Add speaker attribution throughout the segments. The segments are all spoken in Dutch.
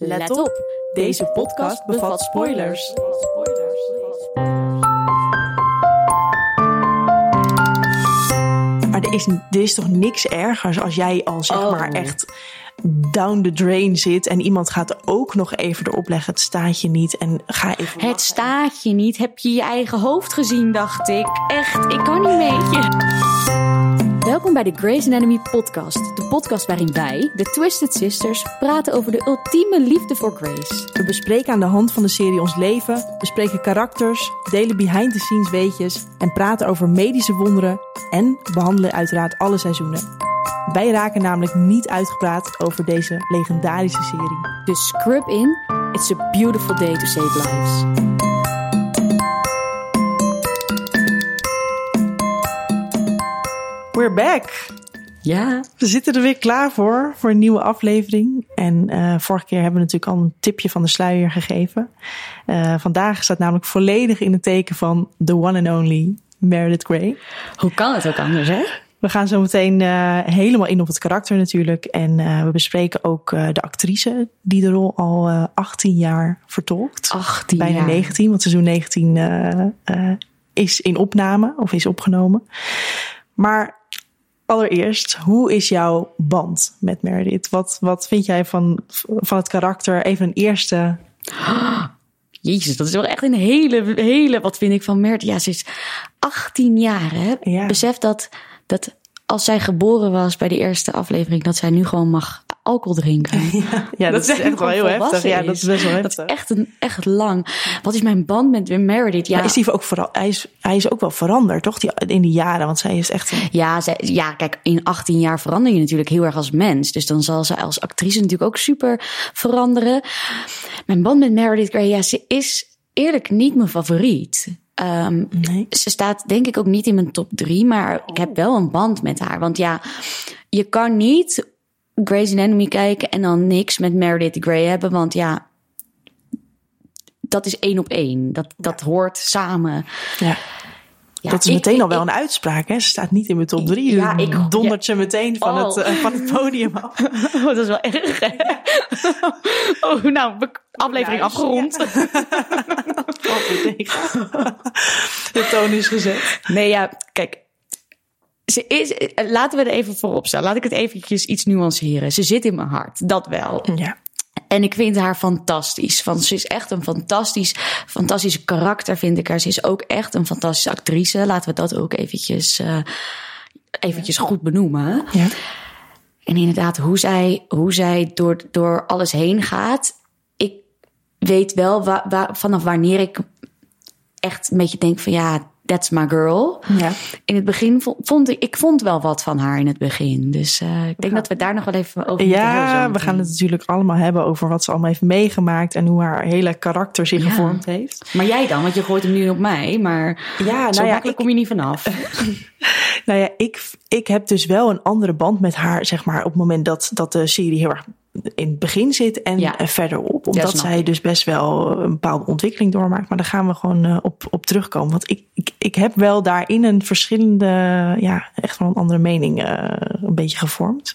Speaker 1: Let op, deze podcast bevat spoilers.
Speaker 2: Maar er is, er is toch niks ergers als jij al zeg
Speaker 1: Oh.
Speaker 2: maar echt down the drain zit en iemand gaat ook nog even erop leggen. Het staat je niet en ga even.
Speaker 1: Het
Speaker 2: lachen.
Speaker 1: staat je niet. Heb je je eigen hoofd gezien, dacht ik. Echt, ik kan niet met je. Welkom bij de Grey's Anatomy podcast. De podcast waarin wij, de Twisted Sisters, praten over de ultieme liefde voor Grace.
Speaker 3: We bespreken aan de hand van de serie ons leven, bespreken karakters, delen behind-the-scenes weetjes en praten over medische wonderen en behandelen uiteraard alle seizoenen. Wij raken namelijk niet uitgepraat over deze legendarische serie.
Speaker 1: Dus scrub in. It's a beautiful day to save lives.
Speaker 2: We're back!
Speaker 1: Ja.
Speaker 2: We zitten er weer klaar voor, voor een nieuwe aflevering. En eh, vorige keer hebben we natuurlijk al een tipje van de sluier gegeven. Eh, vandaag staat namelijk volledig in het teken van the one and only Meredith Grey.
Speaker 1: Hoe kan het ook anders, hè?
Speaker 2: We gaan zo meteen eh, helemaal in op het karakter natuurlijk. En eh, we bespreken ook eh, de actrice die de rol al eh, 18 jaar vertolkt.
Speaker 1: 18
Speaker 2: Bijna
Speaker 1: jaar.
Speaker 2: 19, want seizoen 19 eh, eh, is in opname of is opgenomen. Maar allereerst, hoe is jouw band met Meredith? Wat, wat vind jij van, van het karakter? Even een eerste.
Speaker 1: Jezus, dat is wel echt een hele, hele, wat vind ik van Mert. Ja, ze is 18 jaar, hè?
Speaker 2: Ja.
Speaker 1: Besef dat, dat als zij geboren was bij de eerste aflevering, dat zij nu gewoon mag alcohol drinken.
Speaker 2: Ja, dat,
Speaker 1: zij
Speaker 2: is echt wel
Speaker 1: gewoon
Speaker 2: heel heftig.
Speaker 1: volwassen
Speaker 2: Ja, dat is best wel
Speaker 1: Dat is
Speaker 2: heftig.
Speaker 1: echt, een, echt lang. Wat is mijn band met Meredith? Ja,
Speaker 2: Maar is die ook vooral, hij, is, hij is ook wel veranderd, toch? Die, in die jaren, want zij is echt een
Speaker 1: Ja, zij- ja, kijk, in 18 jaar verander je natuurlijk heel erg als mens. Dus dan zal ze als actrice natuurlijk ook super veranderen. Mijn band met Meredith Grey, ja, ze is eerlijk niet mijn favoriet. Ehm,
Speaker 2: Nee.
Speaker 1: Ze staat denk ik ook niet in mijn top drie, maar ik heb wel een band met haar. Want ja, je kan niet Grey's Anatomy kijken en dan niks met Meredith Grey hebben. Want ja, dat is één op één. Dat, dat hoort samen.
Speaker 2: Ja.
Speaker 1: Ja,
Speaker 2: dat is
Speaker 1: ik-
Speaker 2: meteen al
Speaker 1: ik-
Speaker 2: wel een uitspraak, hè? Ze staat niet in mijn top 3.
Speaker 1: Ja, ik-
Speaker 2: dondert ze meteen van,
Speaker 1: Oh.
Speaker 2: het, eh, van het podium af.
Speaker 1: Oh, dat is wel erg. hè? Oh, nou, we- aflevering
Speaker 2: Luis,
Speaker 1: afgerond.
Speaker 2: De toon is gezet.
Speaker 1: Nee, ja, kijk. Ze is, eh, laten we er even voorop staan. Laat ik het eventjes iets nuanceren. Ze zit in mijn hart, dat wel.
Speaker 2: Ja.
Speaker 1: En ik vind haar fantastisch. Want ze is echt een fantastisch, fantastische karakter, vind ik haar. Ze is ook echt een fantastische actrice. Laten we dat ook eventjes, eh, eventjes goed benoemen.
Speaker 2: Ja.
Speaker 1: En inderdaad, hoe zij, hoe zij door, door alles heen gaat. Ik weet wel wa- wa- vanaf wanneer ik echt een beetje denk van ja, that's my girl.
Speaker 2: Ja.
Speaker 1: In het begin vo- vond ik, ik vond wel wat van haar in het begin. Dus eh, ik denk dat we daar nog wel even over moeten hebben. zo
Speaker 2: ja, we
Speaker 1: meteen.
Speaker 2: gaan het natuurlijk allemaal hebben over wat ze allemaal heeft meegemaakt en hoe haar hele karakter zich
Speaker 1: Ja.
Speaker 2: gevormd heeft.
Speaker 1: Maar jij dan, want je gooit hem nu op mij, maar
Speaker 2: Ja, nou
Speaker 1: zo
Speaker 2: ja,
Speaker 1: makkelijk
Speaker 2: ik-
Speaker 1: kom je niet vanaf.
Speaker 2: Nou ja, ik, ik heb dus wel een andere band met haar, zeg maar, op het moment dat, dat de serie heel erg in het begin zit en
Speaker 1: Ja.
Speaker 2: eh, verderop.
Speaker 1: Ja,
Speaker 2: Omdat
Speaker 1: snap
Speaker 2: zij dus best wel een bepaalde ontwikkeling doormaakt. Maar daar gaan we gewoon eh, op, op terugkomen. Want ik, ik, ik heb wel daarin een verschillende, ja, echt wel een andere mening eh, een beetje gevormd.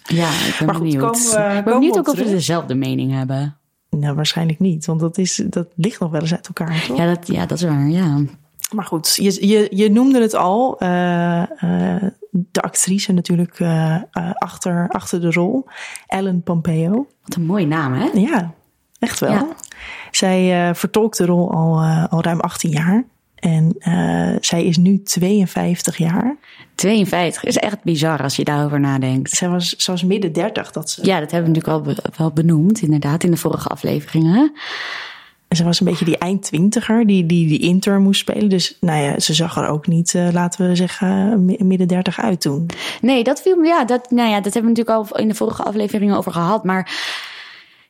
Speaker 1: Ja, ik ben
Speaker 2: Maar goed,
Speaker 1: benieuwd.
Speaker 2: komen we-
Speaker 1: ik ben
Speaker 2: komen we
Speaker 1: benieuwd
Speaker 2: op
Speaker 1: ook of we
Speaker 2: terug?
Speaker 1: dezelfde mening hebben.
Speaker 2: Nou, waarschijnlijk niet, want dat, is, dat ligt nog wel eens uit elkaar, toch?
Speaker 1: Ja, dat, ja, dat is waar, ja.
Speaker 2: Maar goed, je, je, je noemde het al, eh, eh, de actrice natuurlijk eh, eh, achter, achter de rol, Ellen Pompeo.
Speaker 1: Wat een mooie naam, hè?
Speaker 2: Ja, echt wel.
Speaker 1: Ja.
Speaker 2: Zij eh vertolkt de rol al, eh, al ruim 18 jaar. En eh, zij is nu 52 jaar.
Speaker 1: 52 is echt bizar als je daarover nadenkt.
Speaker 2: Zij was, ze was midden 30 dat ze.
Speaker 1: Ja, dat hebben we natuurlijk al be- wel benoemd, inderdaad, in de vorige afleveringen.
Speaker 2: En ze was een beetje die eindtwintiger die, die die intern moest spelen. Dus nou ja, ze zag er ook niet, eh, laten we zeggen, mi- midden 30 uit toen.
Speaker 1: Nee, dat viel me, ja, dat, nou ja, dat hebben we natuurlijk al in de vorige afleveringen over gehad. Maar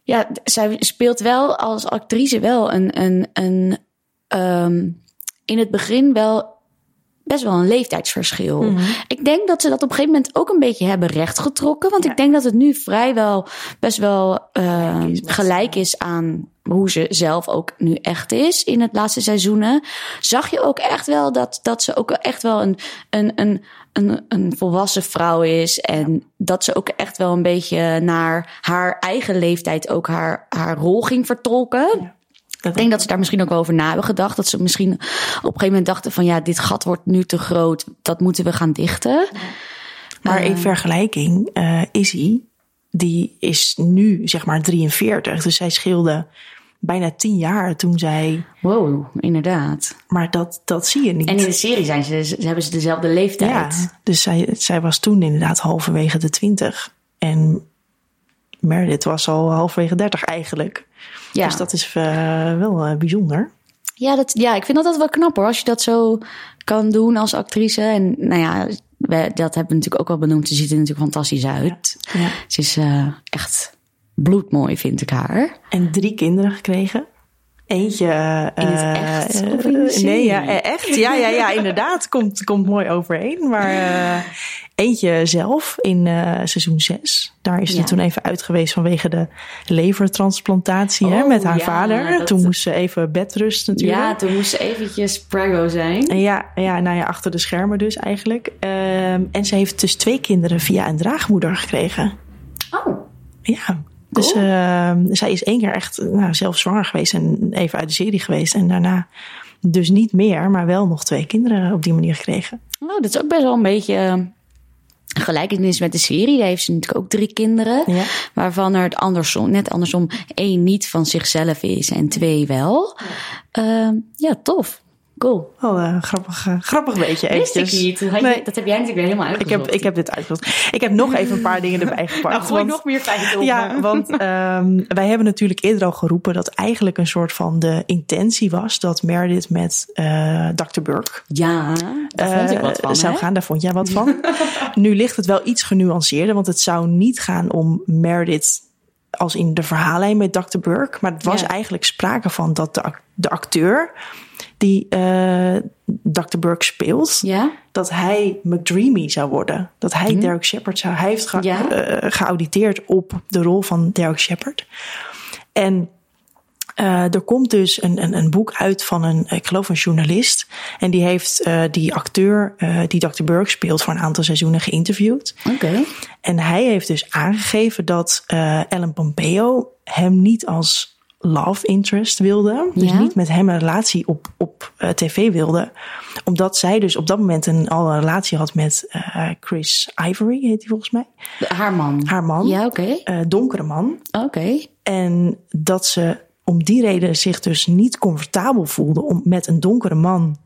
Speaker 1: ja, d- zij speelt wel als actrice wel een, een, een ehm, in het begin wel best wel een leeftijdsverschil. Ik denk dat ze dat op een gegeven moment ook een beetje hebben rechtgetrokken. Want ik denk dat het nu vrijwel best wel eh, gelijk is aan hoe ze zelf ook nu echt is in het laatste seizoenen. Zag je ook echt wel dat, dat ze ook echt wel een, een, een, een, een volwassen vrouw is. En dat ze ook echt wel een beetje naar haar eigen leeftijd ook haar, haar rol ging vertolken. Ik denk dat ze daar misschien ook wel over na hebben gedacht. Dat ze misschien op een gegeven moment dachten van ja, dit gat wordt nu te groot. Dat moeten we gaan dichten.
Speaker 2: Maar in vergelijking, eh Izzy, die is nu zeg maar 43. Dus zij scheelde bijna 10 jaar toen zij...
Speaker 1: Wow, inderdaad.
Speaker 2: Maar dat, dat zie je niet.
Speaker 1: En in de serie zijn ze, ze hebben ze dezelfde leeftijd.
Speaker 2: Ja, dus zij, zij was toen inderdaad halverwege de 20. En Meredith was al halverwege 30 eigenlijk.
Speaker 1: Ja.
Speaker 2: Dus dat is eh, wel eh, bijzonder.
Speaker 1: Ja, dat, ja, ik vind dat altijd wel knap hoor. Als je dat zo kan doen als actrice. En nou ja, we- dat hebben we natuurlijk ook wel benoemd. Ze ziet er natuurlijk fantastisch uit.
Speaker 2: Ja.
Speaker 1: Ze is eh, echt bloedmooi, vind ik haar.
Speaker 2: En drie kinderen gekregen. Eentje.
Speaker 1: In het
Speaker 2: eh,
Speaker 1: echt?
Speaker 2: eh,
Speaker 1: Of in de
Speaker 2: nee,
Speaker 1: serie?
Speaker 2: ja, eh, echt. Ja, ja, ja, inderdaad. Komt, komt mooi overeen. Maar eh, eentje zelf in eh, seizoen 6. Daar is ze
Speaker 1: Ja.
Speaker 2: toen even uit geweest vanwege de levertransplantatie hè,
Speaker 1: Oh,
Speaker 2: met haar
Speaker 1: ja,
Speaker 2: vader.
Speaker 1: dat-
Speaker 2: Toen moest ze even bedrust natuurlijk.
Speaker 1: Ja, toen moest ze eventjes preggo zijn.
Speaker 2: En Ja, ja, nou ja, achter de schermen dus eigenlijk. Ehm, en ze heeft dus twee kinderen via een draagmoeder gekregen.
Speaker 1: Oh,
Speaker 2: Ja. Dus
Speaker 1: Cool.
Speaker 2: ehm, zij is één keer echt nou, zelf zwanger geweest en even uit de serie geweest. En daarna dus niet meer, maar wel nog twee kinderen op die manier gekregen.
Speaker 1: nou, dat is ook best wel een beetje eh, gelijkenis met de serie. Daar heeft ze natuurlijk ook drie kinderen.
Speaker 2: Ja.
Speaker 1: Waarvan er het andersom, net andersom, één niet van zichzelf is en twee wel. Ehm, ja tof. Cool.
Speaker 2: Wel eh, grappig, eh, grappig beetje
Speaker 1: Wist ik
Speaker 2: eventjes.
Speaker 1: niet. Had je-
Speaker 2: dus- Nee.
Speaker 1: Dat heb jij natuurlijk weer helemaal
Speaker 2: Ik
Speaker 1: uitgezocht.
Speaker 2: heb, ik heb dit uitgezocht. Ik heb nog even een paar dingen erbij gepakt.
Speaker 1: Nou, gooi
Speaker 2: want-
Speaker 1: nog meer feiten op.
Speaker 2: Ja, want ehm, wij hebben natuurlijk eerder al geroepen dat eigenlijk een soort van de intentie was dat Meredith met eh Dr. Burke
Speaker 1: Ja, daar vond ik wat
Speaker 2: eh,
Speaker 1: van.
Speaker 2: zou
Speaker 1: hè?
Speaker 2: gaan. Daar vond jij wat van. nu ligt het wel iets genuanceerder, want het zou niet gaan om Meredith als in de verhaallijn met Dr. Burke. Maar het was
Speaker 1: Ja.
Speaker 2: eigenlijk sprake van dat de, ac- de acteur die eh, Dr. Burke speelt,
Speaker 1: Ja?
Speaker 2: dat hij McDreamy zou worden. Dat hij Derek Shepard zou. Hij heeft ge-
Speaker 1: Ja.
Speaker 2: eh, geauditeerd op de rol van Derek Shepard. En eh, er komt dus een, een, een boek uit van een, ik geloof een journalist. En die heeft eh, die acteur, eh, die Dr. Burke speelt, voor een aantal seizoenen geïnterviewd.
Speaker 1: Oké.
Speaker 2: En hij heeft dus aangegeven dat eh Ellen Pompeo hem niet als love interest wilde. Dus
Speaker 1: Ja.
Speaker 2: niet met hem een relatie op, op eh, tv wilde. Omdat zij dus op dat moment een, al een relatie had met eh, Chris Ivory, heet hij volgens mij.
Speaker 1: Haar man.
Speaker 2: Haar man.
Speaker 1: Ja, oké.
Speaker 2: Eh, donkere man.
Speaker 1: Oké.
Speaker 2: En dat ze om die reden zich dus niet comfortabel voelde om met een donkere man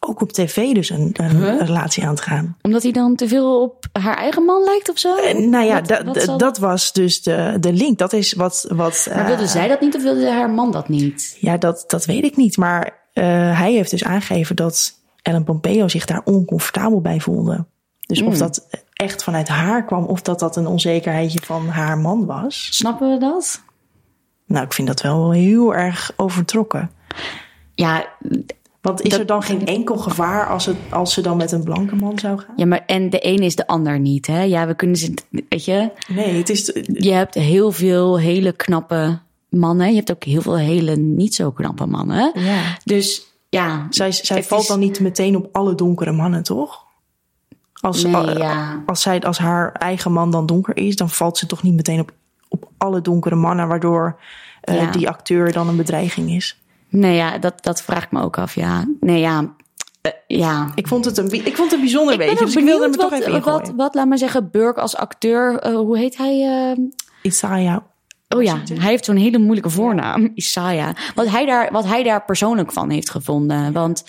Speaker 2: ook op tv dus een, een relatie aan te gaan.
Speaker 1: Omdat hij dan te veel op haar eigen man lijkt of zo?
Speaker 2: Eh, Nou ja,
Speaker 1: Wat-
Speaker 2: da-
Speaker 1: wat
Speaker 2: da-
Speaker 1: zal-
Speaker 2: dat was dus de, de link. Dat is wat. wat
Speaker 1: Maar
Speaker 2: eh,
Speaker 1: wilde zij dat niet of wilde haar man dat niet?
Speaker 2: ja, dat, dat weet ik niet. Maar eh, hij heeft dus aangegeven dat Ellen Pompeo zich daar oncomfortabel bij voelde. Dus
Speaker 1: Hmm.
Speaker 2: of dat echt vanuit haar kwam, of dat dat een onzekerheidje van haar man was.
Speaker 1: Snappen we dat?
Speaker 2: Nou, ik vind dat wel heel erg overtrokken.
Speaker 1: Ja,
Speaker 2: Want is
Speaker 1: Dat-
Speaker 2: er dan geen enkel gevaar als, het, als ze dan met een blanke man zou gaan?
Speaker 1: ja, maar en de een is de ander niet, hè? Ja, we kunnen ze... Weet je,
Speaker 2: Nee, het is.
Speaker 1: je hebt heel veel hele knappe mannen. Je hebt ook heel veel hele niet zo knappe mannen.
Speaker 2: Ja.
Speaker 1: Dus ja...
Speaker 2: Zij, zij
Speaker 1: het
Speaker 2: valt
Speaker 1: is-
Speaker 2: dan niet meteen op alle donkere mannen, toch? Als,
Speaker 1: Nee,
Speaker 2: al-
Speaker 1: ja.
Speaker 2: als, zij, als haar eigen man dan donker is, dan valt ze toch niet meteen op, op alle donkere mannen, waardoor eh,
Speaker 1: Ja.
Speaker 2: die acteur dan een bedreiging is.
Speaker 1: Nee, ja, dat, dat vraag ik me ook af, ja. Nee, ja... eh, ja,
Speaker 2: Ik vond het een, bi- ik vond het een bijzonder
Speaker 1: Ik ben
Speaker 2: beetje,
Speaker 1: ook
Speaker 2: dus ik wilde
Speaker 1: benieuwd
Speaker 2: hem er toch
Speaker 1: wat,
Speaker 2: even in
Speaker 1: wat,
Speaker 2: gooien.
Speaker 1: wat, laat maar zeggen, Burke als acteur, eh, hoe heet hij? eh?
Speaker 2: Isaiah,
Speaker 1: oh ja, hij heeft zo'n hele moeilijke voornaam, Isaiah. Wat hij, daar, wat hij daar persoonlijk van heeft gevonden. Want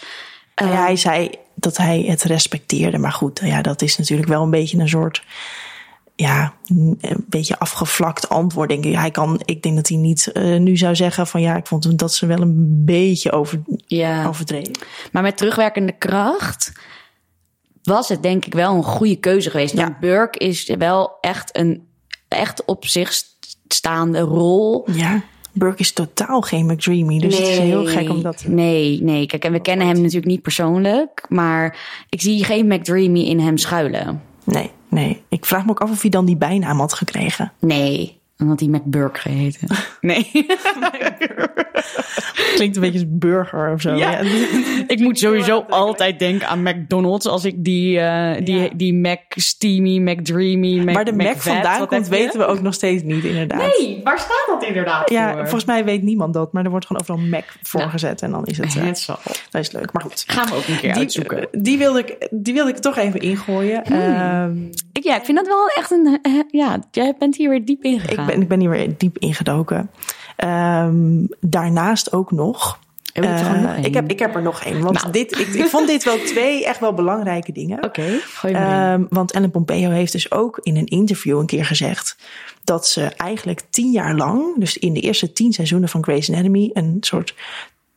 Speaker 2: nou ja, hij
Speaker 1: Ehm.
Speaker 2: zei dat hij het respecteerde, maar goed, ja, dat is natuurlijk wel een beetje een soort... Ja, een beetje afgevlakt antwoord, denk ik. Hij kan, ik denk dat hij niet eh, nu zou zeggen van ja, ik vond dat ze wel een beetje over,
Speaker 1: ja,
Speaker 2: overdreven.
Speaker 1: maar met terugwerkende kracht was het denk ik wel een goede keuze geweest. Want Burke is wel echt een echt op zich staande rol.
Speaker 2: Ja, Burke is totaal geen McDreamy. Dus het is heel gek om dat...
Speaker 1: Nee, nee. Kijk, en we kennen hem natuurlijk niet persoonlijk. Maar ik zie geen McDreamy in hem schuilen.
Speaker 2: Nee, nee. Ik vraag me ook af of hij dan die bijnaam had gekregen.
Speaker 1: Nee, dan had hij McBurk geheten. Nee.
Speaker 2: Klinkt een beetje als burger of zo.
Speaker 1: Ja. ik moet sowieso altijd denken aan McDonald's. Als ik die, eh, die,
Speaker 2: Ja.
Speaker 1: die Mac Steamy, Mac Dreamy, Mac
Speaker 2: Waar de Mac,
Speaker 1: McVet,
Speaker 2: vandaan
Speaker 1: wat
Speaker 2: komt,
Speaker 1: heb je?
Speaker 2: weten we ook nog steeds niet, inderdaad.
Speaker 1: Nee, waar staat dat inderdaad
Speaker 2: Ja,
Speaker 1: voor?
Speaker 2: volgens mij weet niemand dat, maar er wordt gewoon overal Mac voor gezet en dan is het, eh,
Speaker 1: Het zal.
Speaker 2: dat is leuk. Maar goed,
Speaker 1: Gaan we ook een keer uitzoeken. Hmm.
Speaker 2: die, eh, die, wilde ik, die wilde ik toch even ingooien. Ehm,
Speaker 1: Ik, ja, ik vind dat wel echt een... eh, Ja, jij bent hier weer diep in
Speaker 2: ik,
Speaker 1: gegaan.
Speaker 2: ben, ik ben hier weer diep ingedoken. Ehm, daarnaast ook nog.
Speaker 1: Hebben we er
Speaker 2: eh,
Speaker 1: gewoon nog één?
Speaker 2: ik, heb, ik heb er nog één, want
Speaker 1: Nou.
Speaker 2: dit, ik, ik vond dit wel twee echt wel belangrijke dingen.
Speaker 1: Oké, gooi maar in.
Speaker 2: Ehm, want Ellen Pompeo heeft dus ook in een interview een keer gezegd dat ze eigenlijk tien jaar lang, dus in de eerste tien seizoenen van Grey's Anatomy, een soort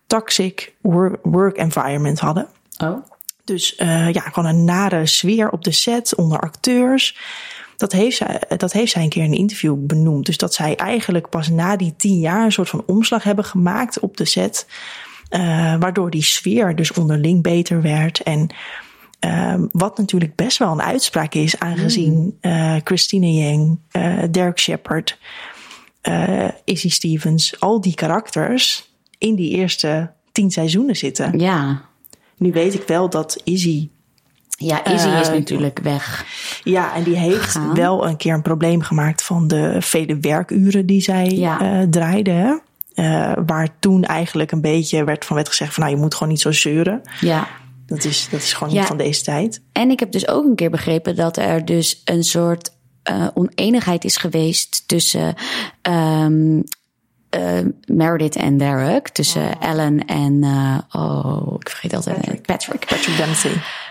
Speaker 2: toxic wor- work environment hadden.
Speaker 1: Oh,
Speaker 2: Dus eh, ja, gewoon een nare sfeer op de set onder acteurs. Dat heeft, zij, dat heeft zij een keer in een interview benoemd. Dus dat zij eigenlijk pas na die tien jaar een soort van omslag hebben gemaakt op de set. eh, waardoor die sfeer dus onderling beter werd. En ehm, wat natuurlijk best wel een uitspraak is, aangezien eh Christine Yang, eh, Derek Shepard, eh Izzy Stevens, al die karakters in die eerste tien seizoenen zitten.
Speaker 1: ja.
Speaker 2: Nu weet ik wel dat Izzy
Speaker 1: Ja, Izzy is
Speaker 2: Eh,
Speaker 1: natuurlijk weg.
Speaker 2: Ja, en die heeft
Speaker 1: Gegaan.
Speaker 2: wel een keer een probleem gemaakt van de vele werkuren die zij
Speaker 1: Ja.
Speaker 2: eh, draaide. hè. Eh, waar toen eigenlijk een beetje werd van werd gezegd van nou je moet gewoon niet zo zeuren.
Speaker 1: Ja.
Speaker 2: Dat is, dat is gewoon
Speaker 1: Ja.
Speaker 2: niet van deze tijd.
Speaker 1: En ik heb dus ook een keer begrepen dat er dus een soort eh oneenigheid is geweest tussen ehm, eh, Meredith en Derek. Tussen Ellen en, eh, oh, ik vergeet altijd, Oh. Patrick. Patrick.
Speaker 2: Patrick Dempsey.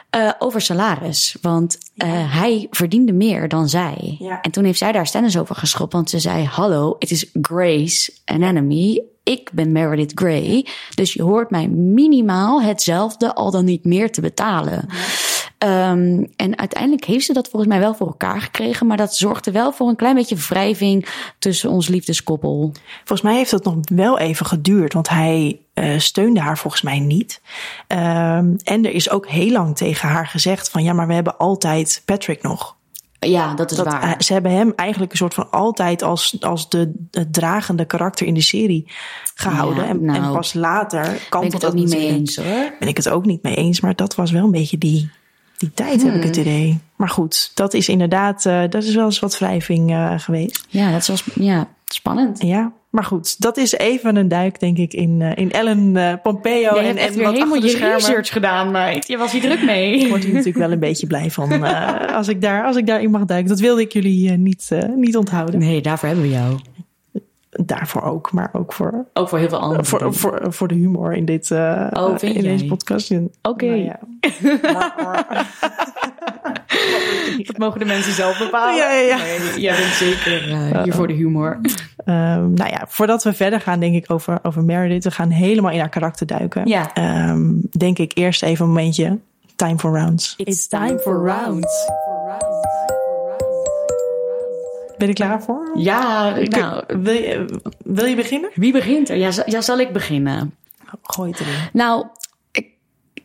Speaker 1: Eh, over salaris. Want eh, hij verdiende meer dan zij.
Speaker 2: Ja.
Speaker 1: En toen heeft zij daar stennis over geschopt. Want ze zei: Hallo, het is Grace Anatomy. Ik ben Meredith Grey. Dus je hoort mij minimaal hetzelfde, al dan niet meer te betalen. Ehm, en uiteindelijk heeft ze dat volgens mij wel voor elkaar gekregen. Maar dat zorgde wel voor een klein beetje wrijving tussen ons liefdeskoppel.
Speaker 2: Volgens mij heeft dat nog wel even geduurd, want hij eh, steunde haar volgens mij niet. Ehm, en er is ook heel lang tegen haar gezegd van ja, maar we hebben altijd Patrick nog.
Speaker 1: Ja, dat is
Speaker 2: dat,
Speaker 1: waar.
Speaker 2: eh, Ze hebben hem eigenlijk een soort van altijd als, als de, het dragende karakter in de serie gehouden.
Speaker 1: Ja,
Speaker 2: en,
Speaker 1: nou,
Speaker 2: en pas later kan
Speaker 1: ben ik
Speaker 2: dat
Speaker 1: het ook niet mee
Speaker 2: natuurlijk.
Speaker 1: eens hoor.
Speaker 2: Ben ik het ook niet mee eens, maar dat was wel een beetje die, die tijd, heb ik
Speaker 1: Hmm.
Speaker 2: het idee. Maar goed, dat is inderdaad, eh, dat is wel eens wat wrijving eh, geweest.
Speaker 1: Ja, dat is wel sp- ja, spannend.
Speaker 2: Ja, maar goed, dat is even een duik, denk ik, in, eh, in Ellen eh, Pompeo.
Speaker 1: Jij
Speaker 2: en,
Speaker 1: hebt
Speaker 2: en
Speaker 1: echt weer
Speaker 2: wat
Speaker 1: helemaal
Speaker 2: achter de
Speaker 1: je
Speaker 2: schermen.
Speaker 1: research gedaan, meid. Je was hier druk mee.
Speaker 2: Word ik natuurlijk wel een beetje blij van eh, als, ik daar, als ik daarin mag duiken. Dat wilde ik jullie eh, niet, eh, niet onthouden.
Speaker 1: Nee, daarvoor hebben we jou.
Speaker 2: Daarvoor ook, maar ook voor,
Speaker 1: Ook voor heel veel andere
Speaker 2: voor,
Speaker 1: dingen.
Speaker 2: voor, voor de humor in, dit, eh,
Speaker 1: Oh, vind
Speaker 2: in
Speaker 1: jij?
Speaker 2: deze podcast. Nou Oké.
Speaker 1: Oké. Oh. Dat mogen de mensen zelf bepalen.
Speaker 2: Ja, ja, ja.
Speaker 1: Nee, jij bent zeker eh, hier voor de humor.
Speaker 2: Ehm, nou ja, voordat we verder gaan, denk ik over, over Meredith. We gaan helemaal in haar karakter duiken.
Speaker 1: Ja.
Speaker 2: Ehm, denk ik eerst even een momentje. Time for rounds.
Speaker 1: It's time for rounds.
Speaker 2: Ben je klaar voor?
Speaker 1: Ja, nou,
Speaker 2: Wil je, wil je beginnen?
Speaker 1: wie begint er? Ja, z- ja, zal ik beginnen?
Speaker 2: Gooi het erin.
Speaker 1: Nou, ik-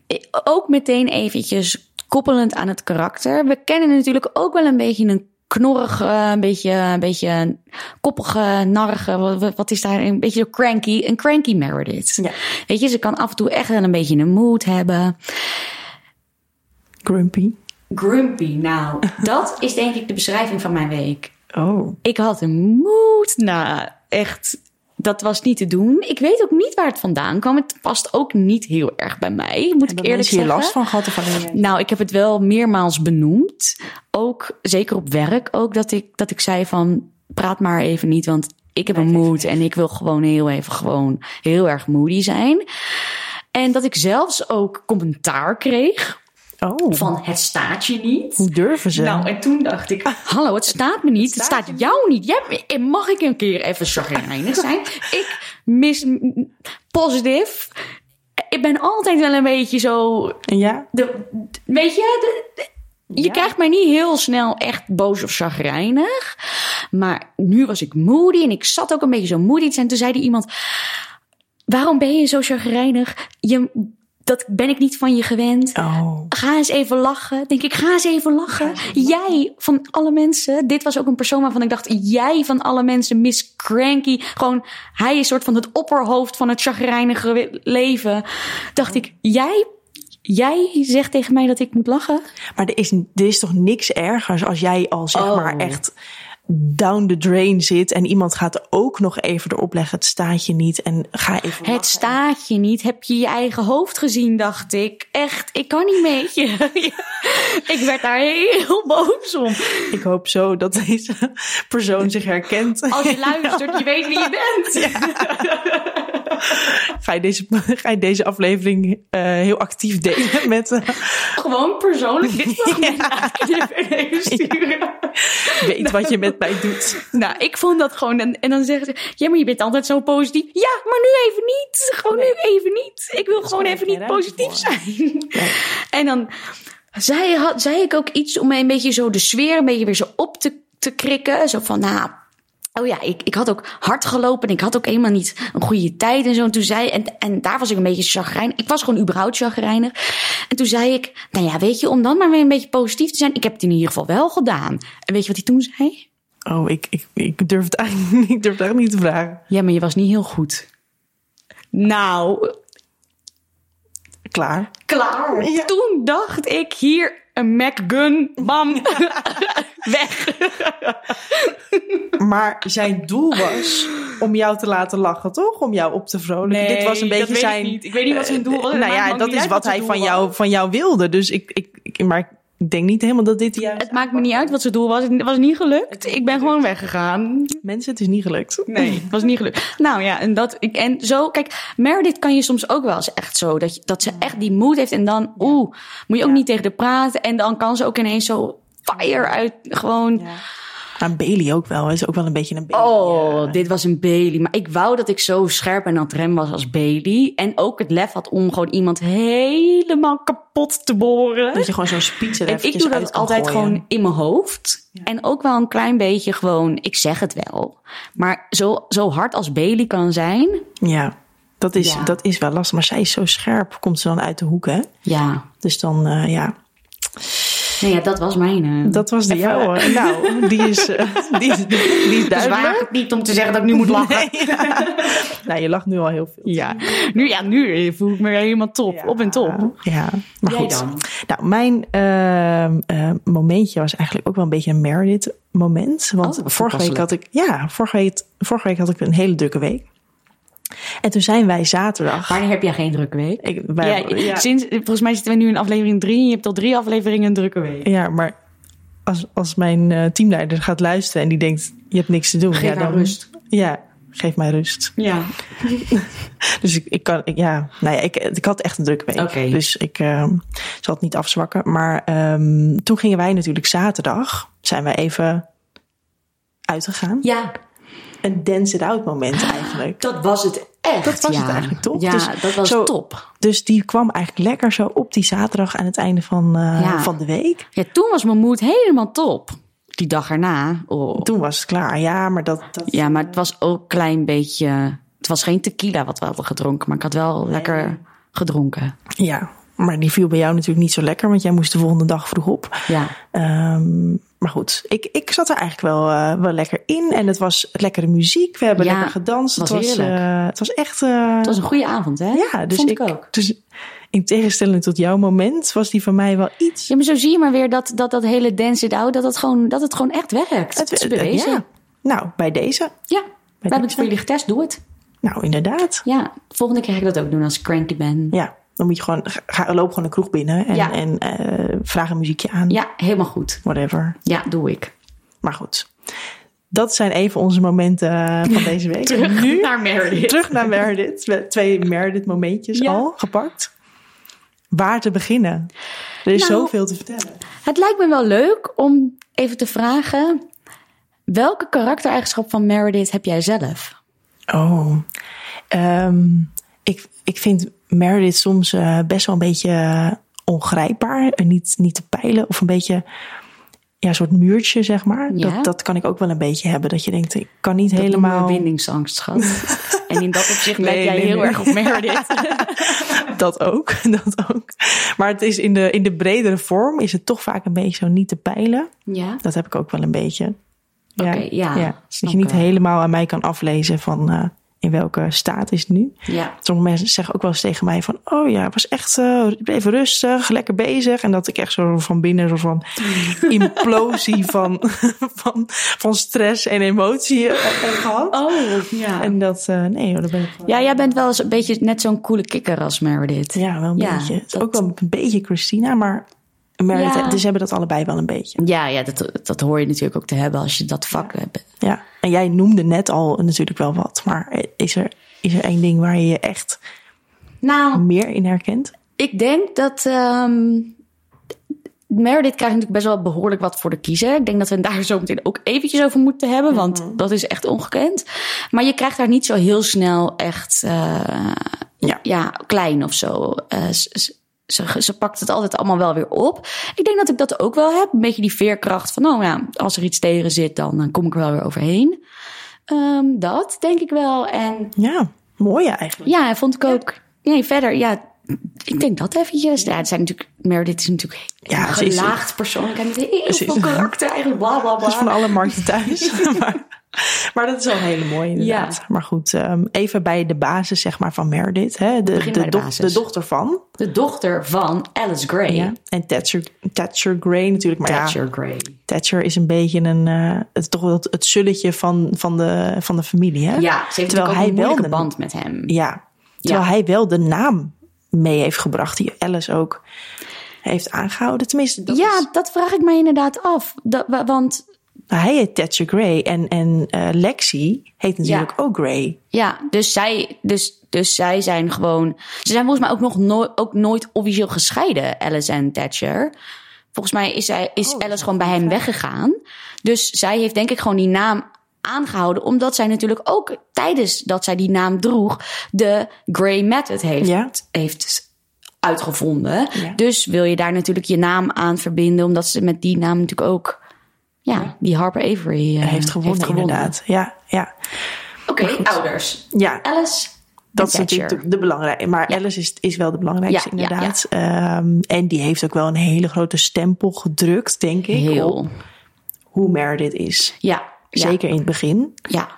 Speaker 1: ik- ook meteen eventjes koppelend aan het karakter. We kennen natuurlijk ook wel een beetje een knorrige, een beetje, een beetje een koppige, narrige. Wat, wat- wat is daar? Een beetje zo cranky. Een cranky Meredith.
Speaker 2: Ja.
Speaker 1: Weet je, ze kan af en toe echt wel een beetje een mood hebben.
Speaker 2: Grumpy.
Speaker 1: Grumpy, nou, dat is denk ik de beschrijving van mijn week.
Speaker 2: Oh.
Speaker 1: Ik had een moed. Nou, echt. Dat was niet te doen. Ik weet ook niet waar het vandaan kwam. Het past ook niet heel erg bij mij. Moet ik eerlijk
Speaker 2: Mensen
Speaker 1: zeggen.
Speaker 2: hier last van gehad of alleen jij?
Speaker 1: Nou, ik heb het wel meermaals benoemd. Ook zeker op werk. Ook dat ik, dat ik zei van praat maar even niet. Want ik heb een moed en ik wil gewoon heel even gewoon heel erg moody zijn. En dat ik zelfs ook commentaar kreeg
Speaker 2: Oh,
Speaker 1: van het staat je niet.
Speaker 2: hoe durven ze?
Speaker 1: Nou, en toen dacht ik, hallo, het staat me niet. Het staat jou niet. Jij, en mag ik een keer even chagrijnig zijn? ik mis positief. Ik ben altijd wel een beetje zo
Speaker 2: En ja?
Speaker 1: de, de- weet je, de- de- Je krijgt mij niet heel snel echt boos of chagrijnig. Maar nu was ik moody en ik zat ook een beetje zo moody. En toen zei er iemand, waarom ben je zo chagrijnig? Je, dat ben ik niet van je gewend.
Speaker 2: Oh.
Speaker 1: Ga eens even lachen. Denk ik, ga eens even lachen. Jij van alle mensen. Dit was ook een persoon waarvan ik dacht, jij van alle mensen, Miss Cranky. Gewoon, hij is soort van het opperhoofd van het chagrijnige we- leven. Dacht ik, jij, jij zegt tegen mij dat ik moet lachen?
Speaker 2: Maar er is, er is toch niks ergers als jij al zeg
Speaker 1: Oh.
Speaker 2: maar echt down the drain zit en iemand gaat ook nog even erop leggen. Het staat je niet en ga even.
Speaker 1: Het staat je niet. Heb je je eigen hoofd gezien, dacht ik. Echt, ik kan niet met je. ik werd daar heel boos om.
Speaker 2: Ik hoop zo dat deze persoon zich herkent.
Speaker 1: Als je luistert, je weet wie je bent.
Speaker 2: Ga je deze, ga je deze aflevering eh, heel actief delen met. eh,
Speaker 1: Gewoon persoonlijk dit fragment naknippen en even sturen.
Speaker 2: weet wat je met mij doet.
Speaker 1: Nou, ik vond dat gewoon... En, en dan zegt ze... Ja, maar je bent altijd zo positief. Ja, maar nu even niet. Gewoon nu even niet. Ik wil gewoon even
Speaker 2: geen
Speaker 1: niet
Speaker 2: ruimte
Speaker 1: positief
Speaker 2: voor.
Speaker 1: zijn. En dan zei, had, zei ik ook iets om mij een beetje zo de sfeer een beetje weer zo op te, te krikken. Zo van, nou... Oh ja, ik, ik had ook hard gelopen en ik had ook helemaal niet een goede tijd en zo. En toen zei, en, en daar was ik een beetje chagrijnig. Ik was gewoon überhaupt chagrijnig. En toen zei ik, nou ja, weet je, om dan maar weer een beetje positief te zijn. Ik heb het in ieder geval wel gedaan. En weet je wat hij toen zei?
Speaker 2: Oh, ik, ik, ik, durf het eigenlijk, ik durf het eigenlijk niet te vragen.
Speaker 1: Ja, maar je was niet heel goed. Nou,
Speaker 2: Klaar.
Speaker 1: klaar.
Speaker 2: Ja.
Speaker 1: Toen dacht ik hier een MacGun, bam, weg.
Speaker 2: Maar zijn doel was om jou te laten lachen, toch? Om jou op te vrolijken. Dit was een beetje zijn.
Speaker 1: Ik weet niet wat zijn doel was.
Speaker 2: nou ja, dat is wat hij van jou, van jou wilde. Dus ik, ik, ik, maar ik denk niet helemaal dat dit juist.
Speaker 1: Het maakt me niet uit wat zijn doel was. Het was niet gelukt. Ik ben gewoon weggegaan.
Speaker 2: Mensen, het is niet gelukt.
Speaker 1: Nee, het was niet gelukt. Nou ja, en, dat, ik, en zo, kijk, Meredith kan je soms ook wel eens echt zo. Dat, je, dat ze echt die moed heeft en dan, oeh, moet je ook niet tegen de praten. En dan kan ze ook ineens zo fire uit, gewoon...
Speaker 2: Aan Bailey ook wel. hè. Is ook wel een beetje een Bailey.
Speaker 1: Oh, dit was een Bailey. Maar ik wou dat ik zo scherp en aan het rem was als Bailey. En ook het lef had om gewoon iemand helemaal kapot te boren.
Speaker 2: Dat je gewoon zo'n speech er
Speaker 1: En ik
Speaker 2: eventjes
Speaker 1: doe dat
Speaker 2: uit kan
Speaker 1: altijd
Speaker 2: gooien.
Speaker 1: gewoon in mijn hoofd. En ook wel een klein beetje gewoon, ik zeg het wel. Maar zo, zo hard als Bailey kan zijn,
Speaker 2: Ja, dat is,
Speaker 1: Ja.
Speaker 2: dat is wel lastig. Maar zij is zo scherp, komt ze dan uit de hoek, hè?
Speaker 1: ja.
Speaker 2: Dus dan, eh, ja.
Speaker 1: Nee, ja, dat was mijn... eh,
Speaker 2: Dat was de jouwe. Nou, die is, eh, die, is- die is
Speaker 1: dus waag
Speaker 2: duidelijk.
Speaker 1: het niet om te zeggen dat ik nu moet lachen.
Speaker 2: Nou, je lacht nu al heel veel.
Speaker 1: Ja. Nu, ja, nu voel ik me helemaal top. Op en top.
Speaker 2: Ja, maar
Speaker 1: Jij
Speaker 2: goed.
Speaker 1: dan?
Speaker 2: Nou, mijn ehm, eh, momentje was eigenlijk ook wel een beetje een Meredith moment. Want
Speaker 1: Oh, wat
Speaker 2: vorige week had
Speaker 1: toepasselijk.
Speaker 2: ik, ja, vorige week, vorige week had ik een hele drukke week. En toen zijn wij zaterdag.
Speaker 1: Wanneer heb jij geen drukke week?
Speaker 2: Ik, wij-
Speaker 1: ja, Sinds, volgens mij zitten we nu in aflevering drie. en Je hebt al drie afleveringen een drukke week.
Speaker 2: Ja, maar als, als mijn eh, teamleider gaat luisteren en die denkt: je hebt niks te doen. ja,
Speaker 1: Geef haar rust.
Speaker 2: Ja, geef mij rust.
Speaker 1: Ja.
Speaker 2: Dus ik, ik kan, ik- ja, nou ja, ik, ik had echt een drukke week.
Speaker 1: Oké.
Speaker 2: Dus ik ehm, zal het niet afzwakken. Maar ehm, toen gingen wij natuurlijk zaterdag, zijn wij even uitgegaan.
Speaker 1: Ja,
Speaker 2: Een dance it out moment eigenlijk.
Speaker 1: dat was het echt.
Speaker 2: Dat was
Speaker 1: ja.
Speaker 2: het eigenlijk, toch?
Speaker 1: Ja,
Speaker 2: Dus
Speaker 1: dat was
Speaker 2: zo-
Speaker 1: top.
Speaker 2: Dus die kwam eigenlijk lekker zo op die zaterdag aan het einde van, eh,
Speaker 1: Ja.
Speaker 2: van de week.
Speaker 1: Ja, toen was mijn moed helemaal top. Die dag erna. Oh.
Speaker 2: Toen was het klaar. Ja, maar dat, dat
Speaker 1: Ja, maar het was ook een klein beetje... Het was geen tequila wat we hadden gedronken. Maar ik had wel lekker gedronken.
Speaker 2: Ja, maar die viel bij jou natuurlijk niet zo lekker, want jij moest de volgende dag vroeg op.
Speaker 1: Ja.
Speaker 2: Ehm, maar goed, ik, ik zat er eigenlijk wel, eh, wel lekker in en het was lekkere muziek. We hebben
Speaker 1: Ja,
Speaker 2: lekker gedanst.
Speaker 1: was
Speaker 2: het, was,
Speaker 1: heerlijk.
Speaker 2: eh, het was echt. eh,
Speaker 1: Het was een goede avond, hè?
Speaker 2: ja, dus
Speaker 1: Vond
Speaker 2: ik,
Speaker 1: ik ook.
Speaker 2: Dus in tegenstelling tot jouw moment was die van mij wel iets.
Speaker 1: Ja, maar zo zie je maar weer dat dat, dat hele dance it out... Dat het, gewoon, dat het gewoon echt werkt. Het, is
Speaker 2: eh, eh,
Speaker 1: bewezen.
Speaker 2: ja.
Speaker 1: Ja.
Speaker 2: Nou, bij deze.
Speaker 1: We hebben het
Speaker 2: deze.
Speaker 1: voor jullie getest. Doe het.
Speaker 2: Nou, inderdaad.
Speaker 1: Ja, volgende keer ga ik dat ook doen als ik cranky ben.
Speaker 2: Ja, dan moet je gewoon, ga, loop gewoon de kroeg binnen en,
Speaker 1: Ja.
Speaker 2: en eh, vraag een muziekje aan.
Speaker 1: Ja, helemaal goed.
Speaker 2: Whatever.
Speaker 1: Ja, doe ik.
Speaker 2: Maar goed, dat zijn even onze momenten eh, van deze week. En nu
Speaker 1: naar Meredith.
Speaker 2: terug naar Meredith. We- Twee Meredith-momentjes
Speaker 1: Ja.
Speaker 2: al gepakt. Waar te beginnen? Er is
Speaker 1: Nou.
Speaker 2: zoveel te vertellen.
Speaker 1: Het lijkt me wel leuk om even te vragen... welke karaktereigenschap van Meredith heb jij zelf?
Speaker 2: Oh, Ehm, ik, ik vind Meredith soms eh, best wel een beetje ongrijpbaar en niet, niet te peilen of een beetje ja, een soort muurtje, zeg maar.
Speaker 1: Ja.
Speaker 2: Dat, dat kan ik ook wel een beetje hebben. Dat je denkt, ik kan niet
Speaker 1: Dat noemen we
Speaker 2: helemaal
Speaker 1: bindingsangst, schat. en in dat opzicht
Speaker 2: Nee,
Speaker 1: lijkt jij
Speaker 2: nee,
Speaker 1: heel
Speaker 2: nee.
Speaker 1: erg op Meredith.
Speaker 2: dat ook. Dat ook. Maar het is in de, in de bredere vorm is het toch vaak een beetje zo niet te peilen.
Speaker 1: ja?
Speaker 2: Dat heb ik ook wel een beetje.
Speaker 1: Oké, ja,
Speaker 2: Dat
Speaker 1: snap
Speaker 2: je niet
Speaker 1: ik.
Speaker 2: helemaal aan mij kan aflezen van eh, in welke staat is het nu.
Speaker 1: Ja.
Speaker 2: Sommige mensen zeggen ook wel eens tegen mij van... oh ja, het was echt eh, ik bleef rustig, lekker bezig. En dat ik echt zo van binnen zo van implosie van, van, van stress en emotie heb gehad.
Speaker 1: Oh, ja.
Speaker 2: En dat, eh, nee hoor, dat ben ik wel-
Speaker 1: ja, jij bent wel eens een beetje net zo'n coole kikker als Meredith.
Speaker 2: Ja, wel een
Speaker 1: Ja,
Speaker 2: beetje. Het is
Speaker 1: dat-
Speaker 2: Ook wel een beetje Christina, maar Meredith,
Speaker 1: Ja.
Speaker 2: dus ze hebben dat allebei wel een beetje.
Speaker 1: Ja, ja dat, dat hoor je natuurlijk ook te hebben als je dat vak hebt.
Speaker 2: Ja. En jij noemde net al natuurlijk wel wat, maar is er, is er één ding waar je je echt
Speaker 1: Nou,
Speaker 2: meer in herkent?
Speaker 1: Ik denk dat. ehm Meredith krijgt natuurlijk best wel behoorlijk wat voor de kiezer. Ik denk dat we het daar zo meteen ook eventjes over moeten hebben, want dat is echt ongekend. Maar je krijgt daar niet zo heel snel echt eh,
Speaker 2: Ja.
Speaker 1: ja. klein of zo. Eh, s- s- ze, ze pakt het altijd allemaal wel weer op. Ik denk dat ik dat ook wel heb. Een beetje die veerkracht van, nou ja, als er iets tegen zit, dan, eh, kom ik er wel weer overheen. Ehm, dat denk ik wel. En
Speaker 2: Ja, mooi eigenlijk.
Speaker 1: ja, en vond ik ook. Nee, verder, ja. Ik denk dat eventjes. Ja, het zijn natuurlijk. Meredith is natuurlijk
Speaker 2: Ja,
Speaker 1: ja, een
Speaker 2: ze is-
Speaker 1: gelaagd persoon. En heel
Speaker 2: Ze is-
Speaker 1: veel karakter eigenlijk. Bla, bla,
Speaker 2: Dat is van
Speaker 1: bla.
Speaker 2: alle markten thuis. maar, maar dat is wel een hele mooie inderdaad.
Speaker 1: Ja.
Speaker 2: Maar goed, ehm, even bij de basis zeg maar, van Meredith. Hè? De, de,
Speaker 1: Begin bij de
Speaker 2: doch-
Speaker 1: basis.
Speaker 2: de dochter van.
Speaker 1: De dochter van Alice Gray.
Speaker 2: Ja. En Thatcher, Thatcher Gray natuurlijk. Maar ja,
Speaker 1: Thatcher Gray.
Speaker 2: Thatcher is een beetje een, eh, het, is toch wel het, het zulletje van, van, de, van de familie. Hè?
Speaker 1: Ja, ze heeft
Speaker 2: Terwijl
Speaker 1: natuurlijk ook
Speaker 2: hij
Speaker 1: een
Speaker 2: wel
Speaker 1: moeilijke
Speaker 2: de-
Speaker 1: band met hem.
Speaker 2: Ja. Terwijl
Speaker 1: Ja.
Speaker 2: hij wel de naam mee heeft gebracht. Die Alice ook heeft aangehouden. Tenminste, dat
Speaker 1: ja,
Speaker 2: is-
Speaker 1: dat vraag ik mij inderdaad af. Dat, wa- want
Speaker 2: hij heet Thatcher Gray. En, en eh, Lexi heet natuurlijk ook Gray.
Speaker 1: ja, dus zij, dus, dus zij zijn gewoon. Ze zijn volgens mij ook nog nooit, ook nooit officieel gescheiden, Alice en Thatcher. Volgens mij is, zij,
Speaker 2: Oh,
Speaker 1: is Alice gewoon bij hem weggegaan. Dus zij heeft denk ik gewoon die naam aangehouden. Omdat zij natuurlijk ook tijdens dat zij die naam droeg... de Grey Method heeft,
Speaker 2: Ja.
Speaker 1: heeft uitgevonden.
Speaker 2: Ja.
Speaker 1: Dus wil je daar natuurlijk je naam aan verbinden. Omdat ze met die naam natuurlijk ook... Ja, die Harper Avery eh,
Speaker 2: heeft gewonnen, inderdaad. Ja, ja.
Speaker 1: Oké, ouders.
Speaker 2: ja
Speaker 1: Alice
Speaker 2: dat is
Speaker 1: en Thatcher.
Speaker 2: natuurlijk de, de belangrijke. Maar
Speaker 1: Ja.
Speaker 2: Alice is, is wel de belangrijkste,
Speaker 1: Ja, ja,
Speaker 2: inderdaad. Ehm, en die heeft ook wel een hele grote stempel gedrukt, denk ik, op
Speaker 1: Heel.
Speaker 2: hoe Meredith is.
Speaker 1: Ja. ja,
Speaker 2: Zeker in het begin.
Speaker 1: Ja.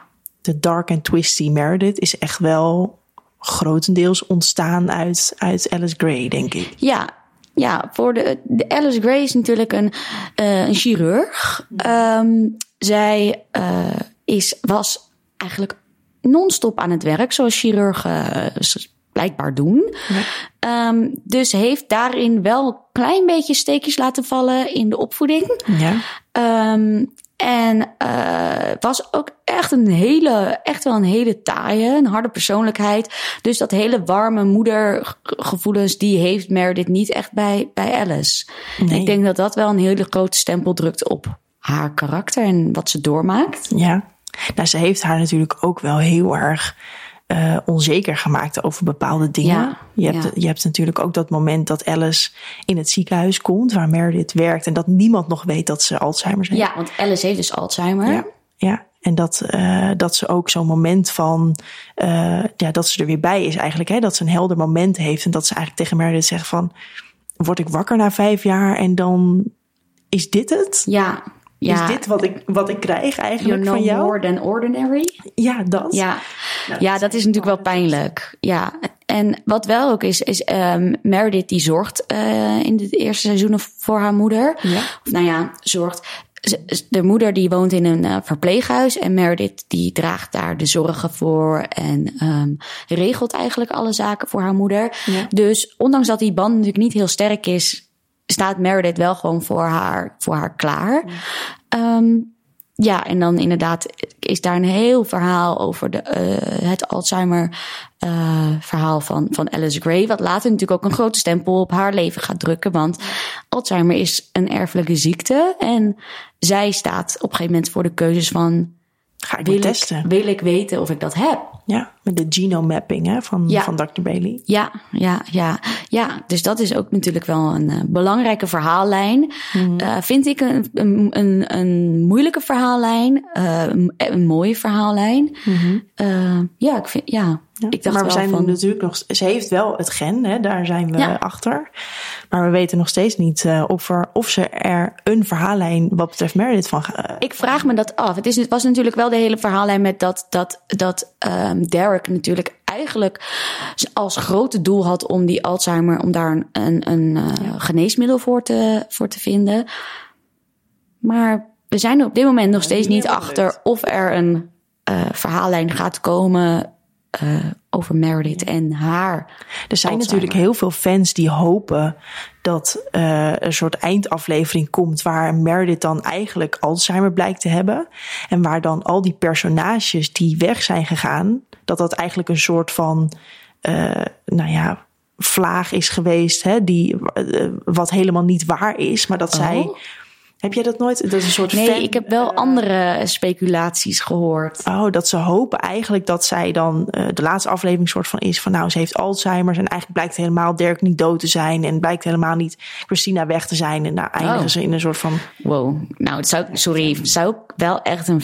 Speaker 2: De dark and twisty Meredith is echt wel grotendeels ontstaan uit, uit Alice Gray, denk ik.
Speaker 1: Ja, ja voor de, de Alice Gray is natuurlijk een, eh, een chirurg. Ehm, zij eh, is, was eigenlijk non-stop aan het werk, zoals chirurgen eh, s- blijkbaar doen. Ehm, dus heeft daarin wel een klein beetje steekjes laten vallen in de opvoeding.
Speaker 2: Ja,
Speaker 1: Ehm, en eh, was ook echt een hele, echt wel een hele taaie, een harde persoonlijkheid. Dus dat hele warme moedergevoelens, die heeft Meredith niet echt bij, bij Alice.
Speaker 2: Nee.
Speaker 1: Ik denk dat dat wel een hele grote stempel drukt op haar karakter en wat ze doormaakt.
Speaker 2: ja. Nou, ze heeft haar natuurlijk ook wel heel erg eh, onzeker gemaakt over bepaalde dingen.
Speaker 1: Ja,
Speaker 2: je, hebt,
Speaker 1: ja.
Speaker 2: je hebt natuurlijk ook dat moment dat Alice in het ziekenhuis komt, waar Meredith werkt, en dat niemand nog weet dat ze Alzheimer heeft.
Speaker 1: Ja, want Alice heeft dus Alzheimer.
Speaker 2: Ja, ja. en dat, eh, dat ze ook zo'n moment van, eh, ja, dat ze er weer bij is eigenlijk. Hè? Dat ze een helder moment heeft en dat ze eigenlijk tegen Meredith zegt van, word ik wakker na vijf jaar en dan is dit het?
Speaker 1: ja. ja.
Speaker 2: Is dit wat ik, wat ik krijg
Speaker 1: You're
Speaker 2: eigenlijk
Speaker 1: no
Speaker 2: van jou?
Speaker 1: more than ordinary.
Speaker 2: Ja, dat.
Speaker 1: Ja, ja Nou, dat is natuurlijk wel pijnlijk. Ja. En wat wel ook is, is ehm, Meredith die zorgt eh, in de eerste seizoenen voor haar moeder.
Speaker 2: Ja.
Speaker 1: Of nou ja, zorgt. Ze- ze- De moeder die woont in een eh, verpleeghuis en Meredith die draagt daar de zorgen voor en ehm, regelt eigenlijk alle zaken voor haar moeder.
Speaker 2: Ja.
Speaker 1: Dus ondanks dat die band natuurlijk niet heel sterk is, staat Meredith wel gewoon voor haar, voor haar klaar. Ehm, ja, en dan inderdaad is daar een heel verhaal over de, eh, het Alzheimer-verhaal van, van Alice Gray. Wat later natuurlijk ook een grote stempel op haar leven gaat drukken. Want Alzheimer is een erfelijke ziekte. En zij staat op een gegeven moment voor de keuzes van:
Speaker 2: Ga ik
Speaker 1: wil
Speaker 2: weer
Speaker 1: ik,
Speaker 2: testen.
Speaker 1: wil ik weten of ik dat heb?
Speaker 2: Ja, Met de genomimapping hè, van,
Speaker 1: Ja.
Speaker 2: van Dr. Bailey.
Speaker 1: Ja, ja, ja. Ja, dus dat is ook natuurlijk wel een eh, belangrijke verhaallijn.
Speaker 2: Mhm.
Speaker 1: Eh, vind ik een, een, een, een moeilijke verhaallijn, eh, een, een mooie verhaallijn. Eh, ja, ik vind, ja.
Speaker 2: Mhm. Ja.
Speaker 1: ik dacht
Speaker 2: maar we
Speaker 1: wel
Speaker 2: zijn
Speaker 1: van,
Speaker 2: natuurlijk nog. Ze heeft wel het gen, hè, daar zijn we
Speaker 1: Ja.
Speaker 2: achter. Maar we weten nog steeds niet eh, of, er, of ze er een verhaallijn wat betreft Meredith van. eh,
Speaker 1: Ik vraag me dat af. Het, is, het was natuurlijk wel de hele verhaallijn met dat, dat, dat ehm, Derek natuurlijk eigenlijk als grote doel had om die Alzheimer, om daar een, een, een eh, geneesmiddel voor te, voor te vinden. Maar we zijn er op dit moment nog steeds niet achter of er een eh, verhaallijn gaat komen eh, over Meredith en haar.
Speaker 2: er zijn
Speaker 1: Alzheimer.
Speaker 2: natuurlijk heel veel fans die hopen dat eh, een soort eindaflevering komt waar Meredith dan eigenlijk Alzheimer blijkt te hebben. En waar dan al die personages die weg zijn gegaan, dat dat eigenlijk een soort van. eh, nou ja. Vlaag is geweest, hè, die, eh, wat helemaal niet waar is, maar dat zij
Speaker 1: Oh.
Speaker 2: Heb jij dat nooit? Dat is een soort fan-
Speaker 1: Nee, ik heb wel andere speculaties gehoord.
Speaker 2: Oh, dat ze hopen eigenlijk dat zij dan eh, de laatste aflevering soort van is van nou, ze heeft Alzheimer's en eigenlijk blijkt helemaal Dirk niet dood te zijn en blijkt helemaal niet Christina weg te zijn en nou eindigen
Speaker 1: Oh.
Speaker 2: ze in een soort van
Speaker 1: Wow. Nou, het zou, sorry, zou ik wel echt een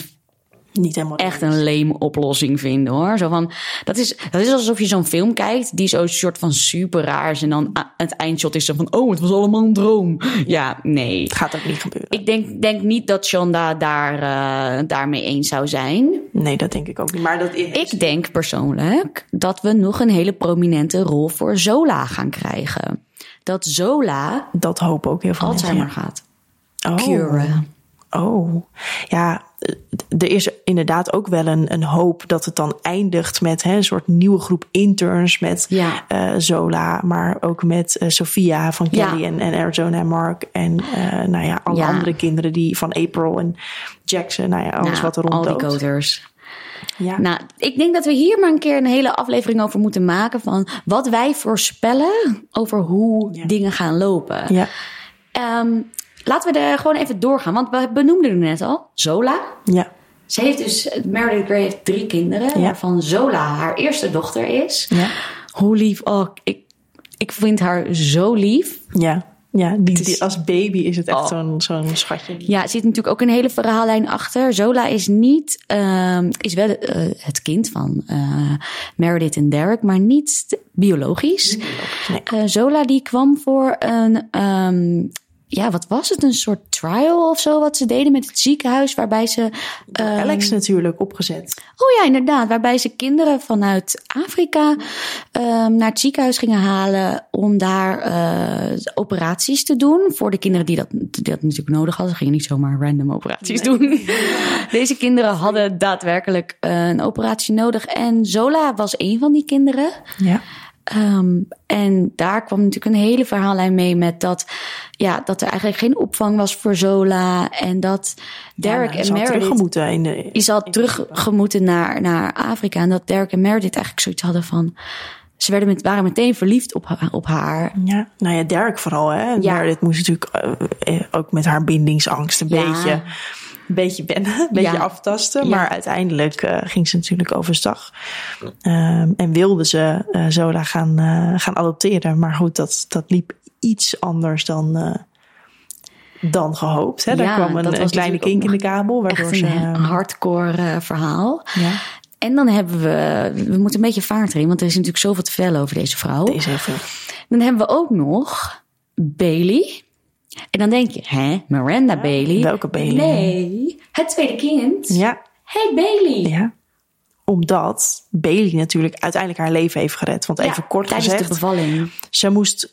Speaker 2: niet helemaal
Speaker 1: echt een lame oplossing vinden hoor. Zo van, dat, is, dat is alsof je zo'n film kijkt die zo'n soort van super raar is. En dan a- het eindshot is zo van, oh, het was allemaal een droom. Ja, nee.
Speaker 2: Het gaat ook niet gebeuren.
Speaker 1: Ik denk, denk niet dat Shonda daar, eh, daarmee eens zou zijn.
Speaker 2: Nee, dat denk ik ook niet. Maar dat is
Speaker 1: Ik denk persoonlijk dat we nog een hele prominente rol voor Zola gaan krijgen. Dat Zola
Speaker 2: dat hopen ook heel veel
Speaker 1: Alzheimer
Speaker 2: mensen.
Speaker 1: gaat
Speaker 2: ja. Oh.
Speaker 1: curen.
Speaker 2: Oh, ja, eh, er is inderdaad ook wel een, een hoop dat het dan eindigt met hè, een soort nieuwe groep interns met
Speaker 1: Ja.
Speaker 2: eh, Zola, maar ook met eh, Sophia van
Speaker 1: Ja.
Speaker 2: Kelly en, en Arizona en Mark en eh, nou ja, alle
Speaker 1: Ja.
Speaker 2: andere kinderen die van April en Jackson, nou ja, alles
Speaker 1: Nou,
Speaker 2: wat er rond
Speaker 1: Al die
Speaker 2: loopt.
Speaker 1: koters.
Speaker 2: Ja.
Speaker 1: Nou, ik denk dat we hier maar een keer een hele aflevering over moeten maken van wat wij voorspellen over hoe dingen gaan lopen.
Speaker 2: ja,
Speaker 1: Ehm, laten we er gewoon even doorgaan, want we benoemden het net al, Zola.
Speaker 2: ja,
Speaker 1: Ze heeft dus, Meredith Grey heeft drie kinderen,
Speaker 2: Ja.
Speaker 1: waarvan Zola haar eerste dochter is.
Speaker 2: Ja.
Speaker 1: Hoe lief, oh, ik, ik vind haar zo lief.
Speaker 2: ja, ja. Die,
Speaker 1: is-
Speaker 2: die- als baby is het echt
Speaker 1: Oh.
Speaker 2: zo'n zo'n schatje.
Speaker 1: Ja, er zit natuurlijk ook een hele verhaallijn achter. Zola is niet, ehm, is wel eh, het kind van eh, Meredith en Derek, maar niet t- biologisch. Eh, Zola die kwam voor een, ehm, ja, wat was het? Een soort trial of zo, wat ze deden met het ziekenhuis, waarbij ze, eh,
Speaker 2: Alex natuurlijk opgezet.
Speaker 1: oh ja, inderdaad, waarbij ze kinderen vanuit Afrika ehm, naar het ziekenhuis gingen halen om daar eh, operaties te doen. Voor de kinderen die dat, die dat natuurlijk nodig hadden. Ze gingen niet zomaar random operaties doen. Deze kinderen hadden daadwerkelijk eh, een operatie nodig. En Zola was een van die kinderen.
Speaker 2: Ja.
Speaker 1: Ehm, en daar kwam natuurlijk een hele verhaallijn mee met dat, ja, dat er eigenlijk geen opvang was voor Zola. En dat Derek
Speaker 2: nou,
Speaker 1: en
Speaker 2: ze had
Speaker 1: Meredith
Speaker 2: teruggemoeten in de,
Speaker 1: is al teruggemoeten naar, naar Afrika. En dat Derek en Meredith eigenlijk zoiets hadden van... Ze werden met, waren meteen verliefd op, ha- op haar.
Speaker 2: Ja, nou ja, Derek vooral. Hè?
Speaker 1: Ja.
Speaker 2: Maar dit moest natuurlijk eh, eh, ook met haar bindingsangst een
Speaker 1: Ja.
Speaker 2: beetje, een beetje wennen, een beetje
Speaker 1: Ja.
Speaker 2: aftasten.
Speaker 1: Ja.
Speaker 2: Maar uiteindelijk eh, ging ze natuurlijk overstag. Ehm, en wilde ze eh, Zola gaan, eh, gaan adopteren. Maar goed, dat, dat liep iets anders dan, eh, dan gehoopt. Hè? Daar
Speaker 1: Ja,
Speaker 2: kwam een,
Speaker 1: dat was
Speaker 2: een kleine
Speaker 1: natuurlijk ook
Speaker 2: kink in de kabel. Waardoor
Speaker 1: Echt een
Speaker 2: ze,
Speaker 1: eh, hardcore eh, verhaal.
Speaker 2: ja,
Speaker 1: En dan hebben we... We moeten een beetje vaart erin, want er is natuurlijk zoveel te vertellen over deze vrouw.
Speaker 2: is even.
Speaker 1: Dan hebben we ook nog Bailey. En dan denk je, hè, Miranda Bailey?
Speaker 2: welke Bailey?
Speaker 1: Nee, het tweede kind.
Speaker 2: Ja,
Speaker 1: Hey Bailey.
Speaker 2: ja. Omdat Bailey natuurlijk uiteindelijk haar leven heeft gered. Want even
Speaker 1: Ja,
Speaker 2: kort
Speaker 1: tijdens
Speaker 2: gezegd.
Speaker 1: de bevalling.
Speaker 2: Zij moest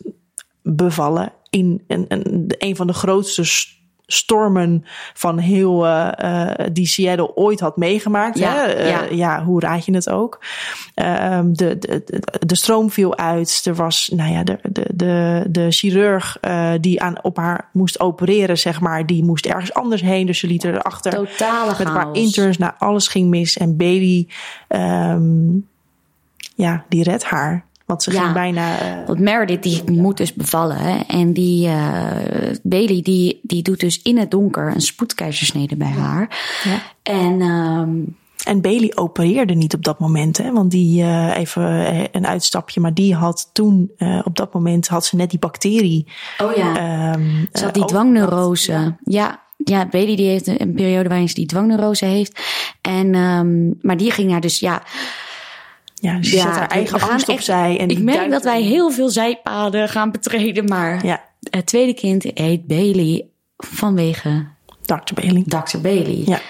Speaker 2: bevallen in een, een, een van de grootste s- stormen van heel eh, eh, die Seattle ooit had meegemaakt.
Speaker 1: Ja,
Speaker 2: hè? Eh,
Speaker 1: ja.
Speaker 2: ja, hoe raad je het ook? Ehm, de, de, de, de stroom viel uit. Er was, nou ja, de, de, de, de chirurg eh, die aan, op haar moest opereren, zeg maar, die moest ergens anders heen. Dus ze liet haar erachter.
Speaker 1: Totale
Speaker 2: Met een paar
Speaker 1: chaos.
Speaker 2: interns, nou, alles ging mis. En Bailey, ehm, ja, die redt haar. Want ze
Speaker 1: Ja.
Speaker 2: ging bijna. eh,
Speaker 1: Want Meredith die moet dus bevallen. hè. En die eh, Bailey die, die doet dus in het donker een spoedkeizersnede bij haar.
Speaker 2: Ja.
Speaker 1: En ehm,
Speaker 2: En Bailey opereerde niet op dat moment, hè, want die, eh, even eh, een uitstapje, maar die had toen, eh, op dat moment had ze net die bacterie.
Speaker 1: Oh ja.
Speaker 2: ehm,
Speaker 1: Ze had
Speaker 2: eh,
Speaker 1: die
Speaker 2: over-
Speaker 1: dwangneurose. Ja. ja. Bailey die heeft een een periode waarin ze die dwangneurose heeft. En, ehm, maar die ging haar dus, ja.
Speaker 2: Ja, ze
Speaker 1: ja,
Speaker 2: zet haar
Speaker 1: we
Speaker 2: eigen
Speaker 1: gaan
Speaker 2: angst
Speaker 1: echt-
Speaker 2: opzij. En
Speaker 1: Ik
Speaker 2: die
Speaker 1: merk
Speaker 2: duikt
Speaker 1: dat wij
Speaker 2: erin.
Speaker 1: heel veel zijpaden gaan betreden. Maar
Speaker 2: Ja,
Speaker 1: het tweede kind heet Bailey vanwege
Speaker 2: Dr. Bailey.
Speaker 1: Dr. Bailey.
Speaker 2: Ja,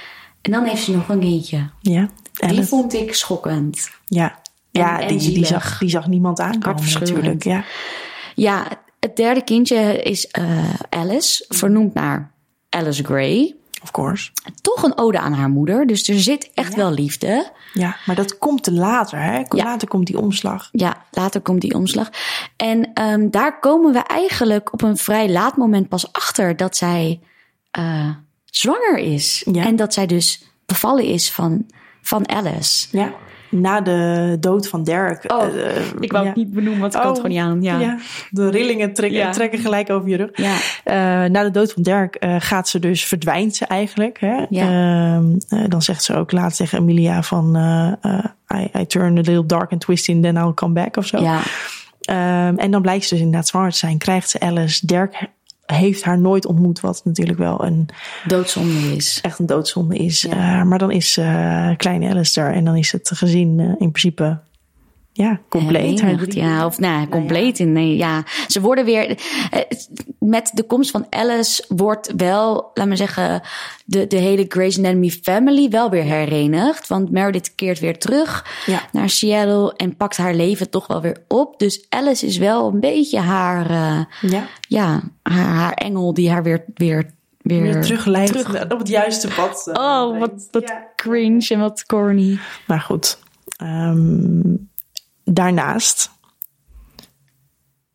Speaker 1: En dan heeft ze nog een kindje.
Speaker 2: ja. En
Speaker 1: Die
Speaker 2: het-
Speaker 1: vond ik schokkend.
Speaker 2: ja. Ja,
Speaker 1: en
Speaker 2: die, die,
Speaker 1: zielig.
Speaker 2: zag, die zag niemand aankomen
Speaker 1: Hartverscheurend.
Speaker 2: natuurlijk. Ja.
Speaker 1: Ja, het derde kindje is eh, Alice, vernoemd naar Alice Gray.
Speaker 2: Of course.
Speaker 1: Toch een ode aan haar moeder, dus er zit echt wel liefde.
Speaker 2: Ja, maar dat komt te later, hè?
Speaker 1: Ja.
Speaker 2: Later komt die omslag.
Speaker 1: Ja, later komt die omslag. En ehm, daar komen we eigenlijk op een vrij laat moment pas achter dat zij eh, zwanger is.
Speaker 2: Ja.
Speaker 1: En dat zij dus bevallen is van, van Alice.
Speaker 2: Ja. Na de dood van Derek.
Speaker 1: Oh,
Speaker 2: eh,
Speaker 1: Ik wou
Speaker 2: ja.
Speaker 1: het niet benoemen, want ik kan het
Speaker 2: Oh,
Speaker 1: gewoon niet aan. Ja. Ja.
Speaker 2: de rillingen trekken,
Speaker 1: Ja.
Speaker 2: trekken gelijk over je rug.
Speaker 1: Ja.
Speaker 2: Eh, na de dood van Dirk eh, gaat ze dus, verdwijnt ze eigenlijk. Hè?
Speaker 1: Ja.
Speaker 2: Ehm, eh, dan zegt ze ook laat tegen Emilia van... eh, eh, I, I turn a little dark and twist in, then I'll come back of zo. Ehm, en dan blijkt ze dus inderdaad zwanger te zijn. Krijgt ze Alice. Dirk heeft haar nooit ontmoet. Wat natuurlijk wel een,
Speaker 1: doodzonde is.
Speaker 2: echt een doodzonde is. Eh, maar dan is eh, kleine Alice er. En dan is het gezin eh, in principe ja, compleet. Haar
Speaker 1: Herenigd,
Speaker 2: drie-
Speaker 1: ja, of nou, ja, compleet in. Nee, ja, ze worden weer. eh, Met de komst van Alice wordt wel, laat maar zeggen, de, de hele Grey's Anatomy family wel weer herenigd. Want Meredith keert weer terug
Speaker 2: Ja.
Speaker 1: naar Seattle en pakt haar leven toch wel weer op. Dus Alice is wel een beetje haar, eh,
Speaker 2: Ja.
Speaker 1: ja, haar, haar engel die haar weer, weer, weer,
Speaker 2: Weer terugleidt op het juiste pad. eh,
Speaker 1: Oh,
Speaker 2: brengt.
Speaker 1: wat, wat
Speaker 2: Ja.
Speaker 1: cringe en wat corny.
Speaker 2: Maar goed. ehm, daarnaast.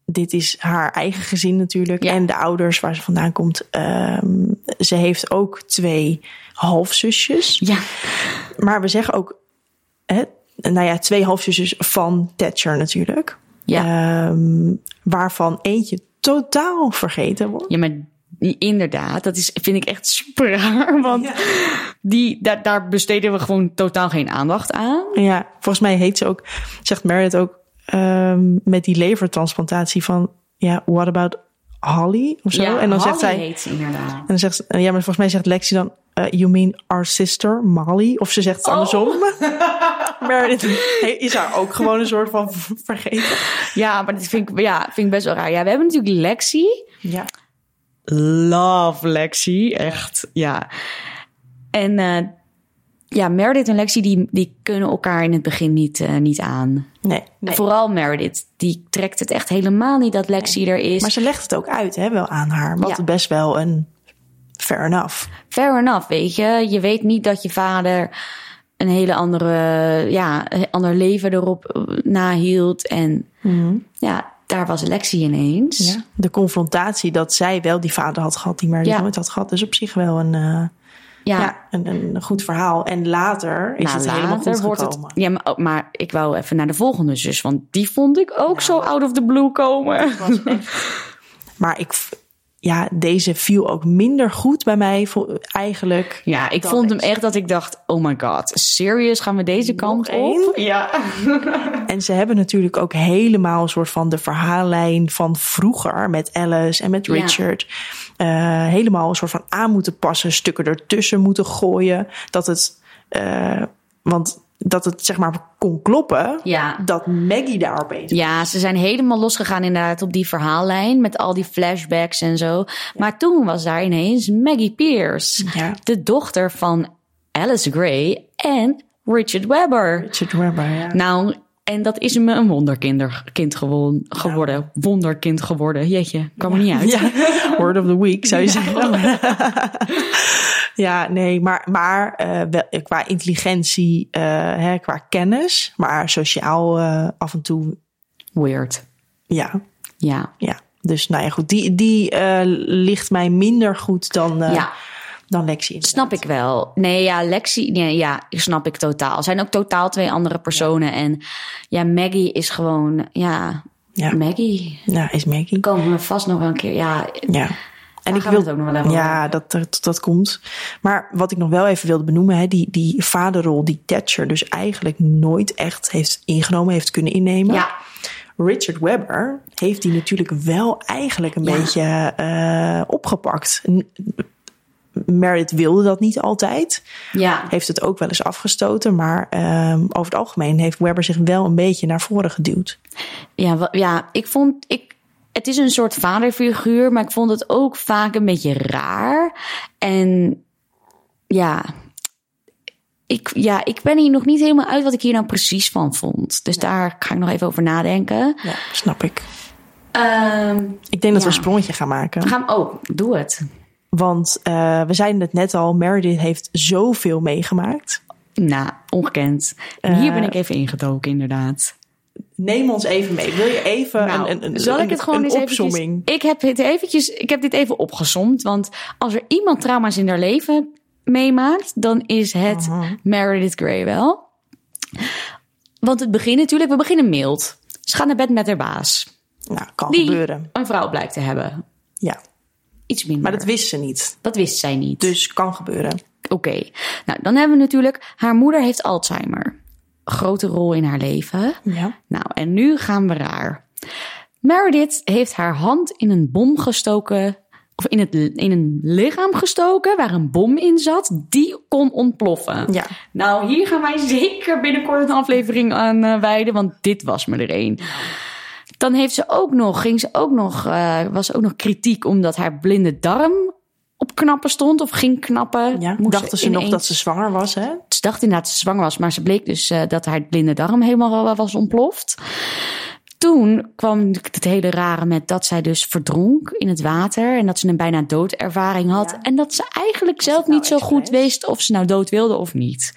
Speaker 2: Dit is haar eigen gezin natuurlijk.
Speaker 1: Ja.
Speaker 2: En de ouders waar ze vandaan komt. Ehm, ze heeft ook twee halfzusjes.
Speaker 1: Ja,
Speaker 2: Maar we zeggen ook. Hè, nou ja, twee halfzusjes van Thatcher natuurlijk.
Speaker 1: ja.
Speaker 2: Ehm, waarvan eentje totaal vergeten wordt.
Speaker 1: Ja, maar inderdaad, dat is, vind ik echt super raar. Want die, daar, daar besteden we gewoon totaal geen aandacht aan.
Speaker 2: Ja, volgens mij heet ze ook, zegt Meredith ook ehm, met die levertransplantatie van, ja, what about Holly of zo? en dan zegt zij, en
Speaker 1: heet ze inderdaad.
Speaker 2: dan zegt, ze- ja, maar volgens mij zegt Lexi dan, eh, you mean our sister Molly? Of ze zegt het andersom. Meredith is haar ook gewoon een soort van vergeten.
Speaker 1: Ja, maar dat vind ik, ja, vind ik best wel raar. Ja, we hebben natuurlijk Lexi.
Speaker 2: Ja,
Speaker 1: Love Lexi, echt, ja. En eh, ja, Meredith en Lexi, die, die kunnen elkaar in het begin niet, eh, niet aan.
Speaker 2: nee. nee.
Speaker 1: Vooral Meredith, die trekt het echt helemaal niet dat Lexi er is.
Speaker 2: Maar ze legt het ook uit, hè, wel aan haar. Wat
Speaker 1: Ja.
Speaker 2: best wel een fair enough.
Speaker 1: fair enough, weet je. Je weet niet dat je vader een hele andere, ja, een ander leven erop eh, nahield. En ja, daar was Lexi ineens.
Speaker 2: Mhm. Ja. De confrontatie dat zij wel die vader had gehad, die Meredith
Speaker 1: Ja.
Speaker 2: nooit had gehad. Dus op zich wel een... eh,
Speaker 1: Ja,
Speaker 2: Ja, een, een goed verhaal. En later is
Speaker 1: nou,
Speaker 2: het
Speaker 1: later
Speaker 2: helemaal goed
Speaker 1: wordt het.
Speaker 2: gekomen.
Speaker 1: Ja, maar, oh, maar ik wou even naar de volgende zus, want die vond ik ook zo out of the blue komen.
Speaker 2: Maar ik, v- ja, deze viel ook minder goed bij mij vo- eigenlijk.
Speaker 1: Ja, ik
Speaker 2: Dat
Speaker 1: vond hem
Speaker 2: is-
Speaker 1: echt dat ik dacht: oh my god, serious, gaan we deze kant
Speaker 2: één?
Speaker 1: op? Ja.
Speaker 2: En ze hebben natuurlijk ook helemaal een soort van de verhaallijn van vroeger met Alice en met
Speaker 1: Ja.
Speaker 2: Richard. eh, helemaal een soort van aan moeten passen, stukken ertussen moeten gooien. Dat het, eh, want dat het zeg maar kon kloppen.
Speaker 1: Ja.
Speaker 2: Dat Maggie daar bezig
Speaker 1: Ja, ze zijn helemaal losgegaan inderdaad op die verhaallijn met al die flashbacks en zo. Maar toen was daar ineens Maggie Pierce,
Speaker 2: Ja.
Speaker 1: de dochter van Alice Gray en Richard Webber.
Speaker 2: Richard Webber, ja.
Speaker 1: Nou, en dat is me een wonderkind gewoon, geworden. Wonderkind geworden, jeetje, kwam er niet uit.
Speaker 2: Ja, word of the week zou je zeggen. ja, nee, maar, maar eh, wel, qua intelligentie, eh, hè, qua kennis, maar sociaal eh, af en toe,
Speaker 1: Weird.
Speaker 2: ja,
Speaker 1: Ja.
Speaker 2: ja. Dus nou ja, goed, die, die eh, ligt mij minder goed dan, eh,
Speaker 1: ja.
Speaker 2: dan Lexi.
Speaker 1: Snap ik wel. Nee, ja, Lexi, nee, ja, snap ik totaal. Zijn ook totaal twee andere personen. En ja, Maggie is gewoon, ja,
Speaker 2: Ja.
Speaker 1: Maggie.
Speaker 2: Ja, is Maggie.
Speaker 1: Komen we vast nog wel een keer. Ja,
Speaker 2: Ja,
Speaker 1: en ik wil het ook nog wel even over
Speaker 2: Ja,
Speaker 1: hebben.
Speaker 2: dat, dat, dat komt. Maar wat ik nog wel even wilde benoemen, hè, die, die vaderrol die Thatcher dus eigenlijk nooit echt heeft ingenomen, heeft kunnen innemen.
Speaker 1: Ja.
Speaker 2: Richard Webber heeft die natuurlijk wel eigenlijk een
Speaker 1: Ja.
Speaker 2: beetje eh, opgepakt. N- Meredith wilde dat niet altijd.
Speaker 1: Ja.
Speaker 2: Heeft het ook wel eens afgestoten. Maar ehm, over het algemeen heeft Webber zich wel een beetje naar voren geduwd.
Speaker 1: Ja, wa- ja, ik vond. Ik, het is een soort vaderfiguur, maar ik vond het ook vaak een beetje raar. En ja. Ik, ja, ik ben hier nog niet helemaal uit wat ik hier nou precies van vond. Dus daar ga ik nog even over nadenken.
Speaker 2: Ja, snap ik.
Speaker 1: Ehm,
Speaker 2: Ik denk dat we
Speaker 1: Ja.
Speaker 2: een sprongetje gaan maken.
Speaker 1: we gaan, oh, doe het.
Speaker 2: Want eh, we zeiden het net al, Meredith heeft zoveel meegemaakt.
Speaker 1: Nou, ongekend. En hier ben ik even ingedoken, inderdaad.
Speaker 2: Neem ons even mee. Wil je even
Speaker 1: Nou,
Speaker 2: een, een, een,
Speaker 1: zal ik het gewoon
Speaker 2: een
Speaker 1: eens
Speaker 2: opzomming?
Speaker 1: eventjes... Ik heb, het eventjes, ik heb dit even opgezomd. Want als er iemand trauma's in haar leven meemaakt... dan is het
Speaker 2: Mhm.
Speaker 1: Meredith Grey wel. Want het begin natuurlijk... We beginnen mild. Ze gaat naar bed met haar baas.
Speaker 2: Nou, kan
Speaker 1: Die
Speaker 2: gebeuren.
Speaker 1: een vrouw blijkt te hebben.
Speaker 2: Ja,
Speaker 1: Iets minder.
Speaker 2: maar dat wist ze niet.
Speaker 1: dat wist zij niet.
Speaker 2: Dus kan gebeuren.
Speaker 1: Oké. Nou, dan hebben we natuurlijk... Haar moeder heeft Alzheimer. Grote rol in haar leven.
Speaker 2: Ja.
Speaker 1: Nou, en nu gaan we raar. Meredith heeft haar hand in een bom gestoken. Of in, het, in een lichaam gestoken waar een bom in zat. Die kon ontploffen.
Speaker 2: Ja.
Speaker 1: Nou, hier gaan wij zeker binnenkort een aflevering aan eh, wijden. Want dit was me er één. Dan heeft ze ook nog, ging ze ook nog, eh, was ook nog kritiek omdat haar blinde darm op knappen stond of ging knappen.
Speaker 2: Ja,
Speaker 1: Moest
Speaker 2: dachten ze nog
Speaker 1: ineens-
Speaker 2: dat ze zwanger was, hè?
Speaker 1: ze dacht inderdaad dat ze zwanger was, maar ze bleek dus eh, dat haar blinde darm helemaal wel was ontploft. Toen kwam het hele rare met dat zij dus verdronk in het water en dat ze een bijna doodervaring had. En dat ze eigenlijk zelf
Speaker 2: nou
Speaker 1: niet zo goed
Speaker 2: expres?
Speaker 1: wist of ze nou dood wilde of niet.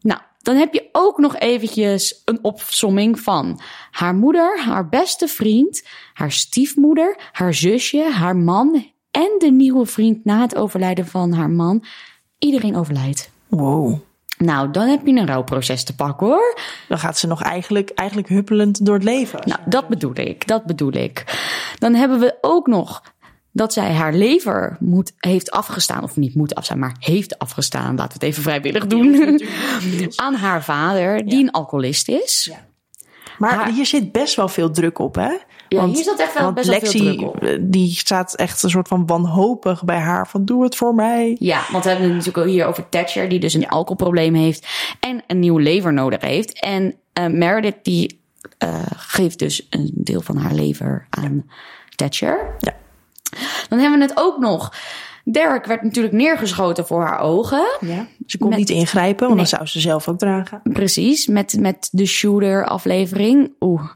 Speaker 1: Nou, dan heb je ook nog eventjes een opsomming van haar moeder, haar beste vriend, haar stiefmoeder, haar zusje, haar man en de nieuwe vriend na het overlijden van haar man. Iedereen overlijdt.
Speaker 2: Wow.
Speaker 1: Nou, dan heb je een rouwproces te pakken hoor.
Speaker 2: Dan gaat ze nog eigenlijk, eigenlijk huppelend door het leven.
Speaker 1: Nou, dat bedoel ik, dat bedoel ik. Dan hebben we ook nog dat zij haar lever moet, heeft afgestaan, of niet moet afstaan, maar heeft afgestaan. Laten we het even vrijwillig doen. Aan haar vader, die een alcoholist is.
Speaker 2: Ja. maar
Speaker 1: haar-
Speaker 2: hier zit best wel veel druk op, hè?
Speaker 1: Ja, hier zat echt wel
Speaker 2: want
Speaker 1: best wel veel
Speaker 2: Lexi,
Speaker 1: druk op.
Speaker 2: eh, Die staat echt een soort van wanhopig bij haar. Van doe het voor mij.
Speaker 1: Ja, want we hebben het natuurlijk ook hier over Thatcher, die dus een alcoholprobleem heeft en een nieuw lever nodig heeft. En eh, Meredith, die eh, geeft dus een deel van haar lever aan Thatcher.
Speaker 2: Ja.
Speaker 1: Dan hebben we het ook nog. Derek werd natuurlijk neergeschoten voor haar ogen.
Speaker 2: Ja. Ze kon
Speaker 1: Met-
Speaker 2: niet ingrijpen, want
Speaker 1: Nee.
Speaker 2: dan zou ze zelf ook dragen.
Speaker 1: Precies, met, met de shooter-aflevering. Oeh.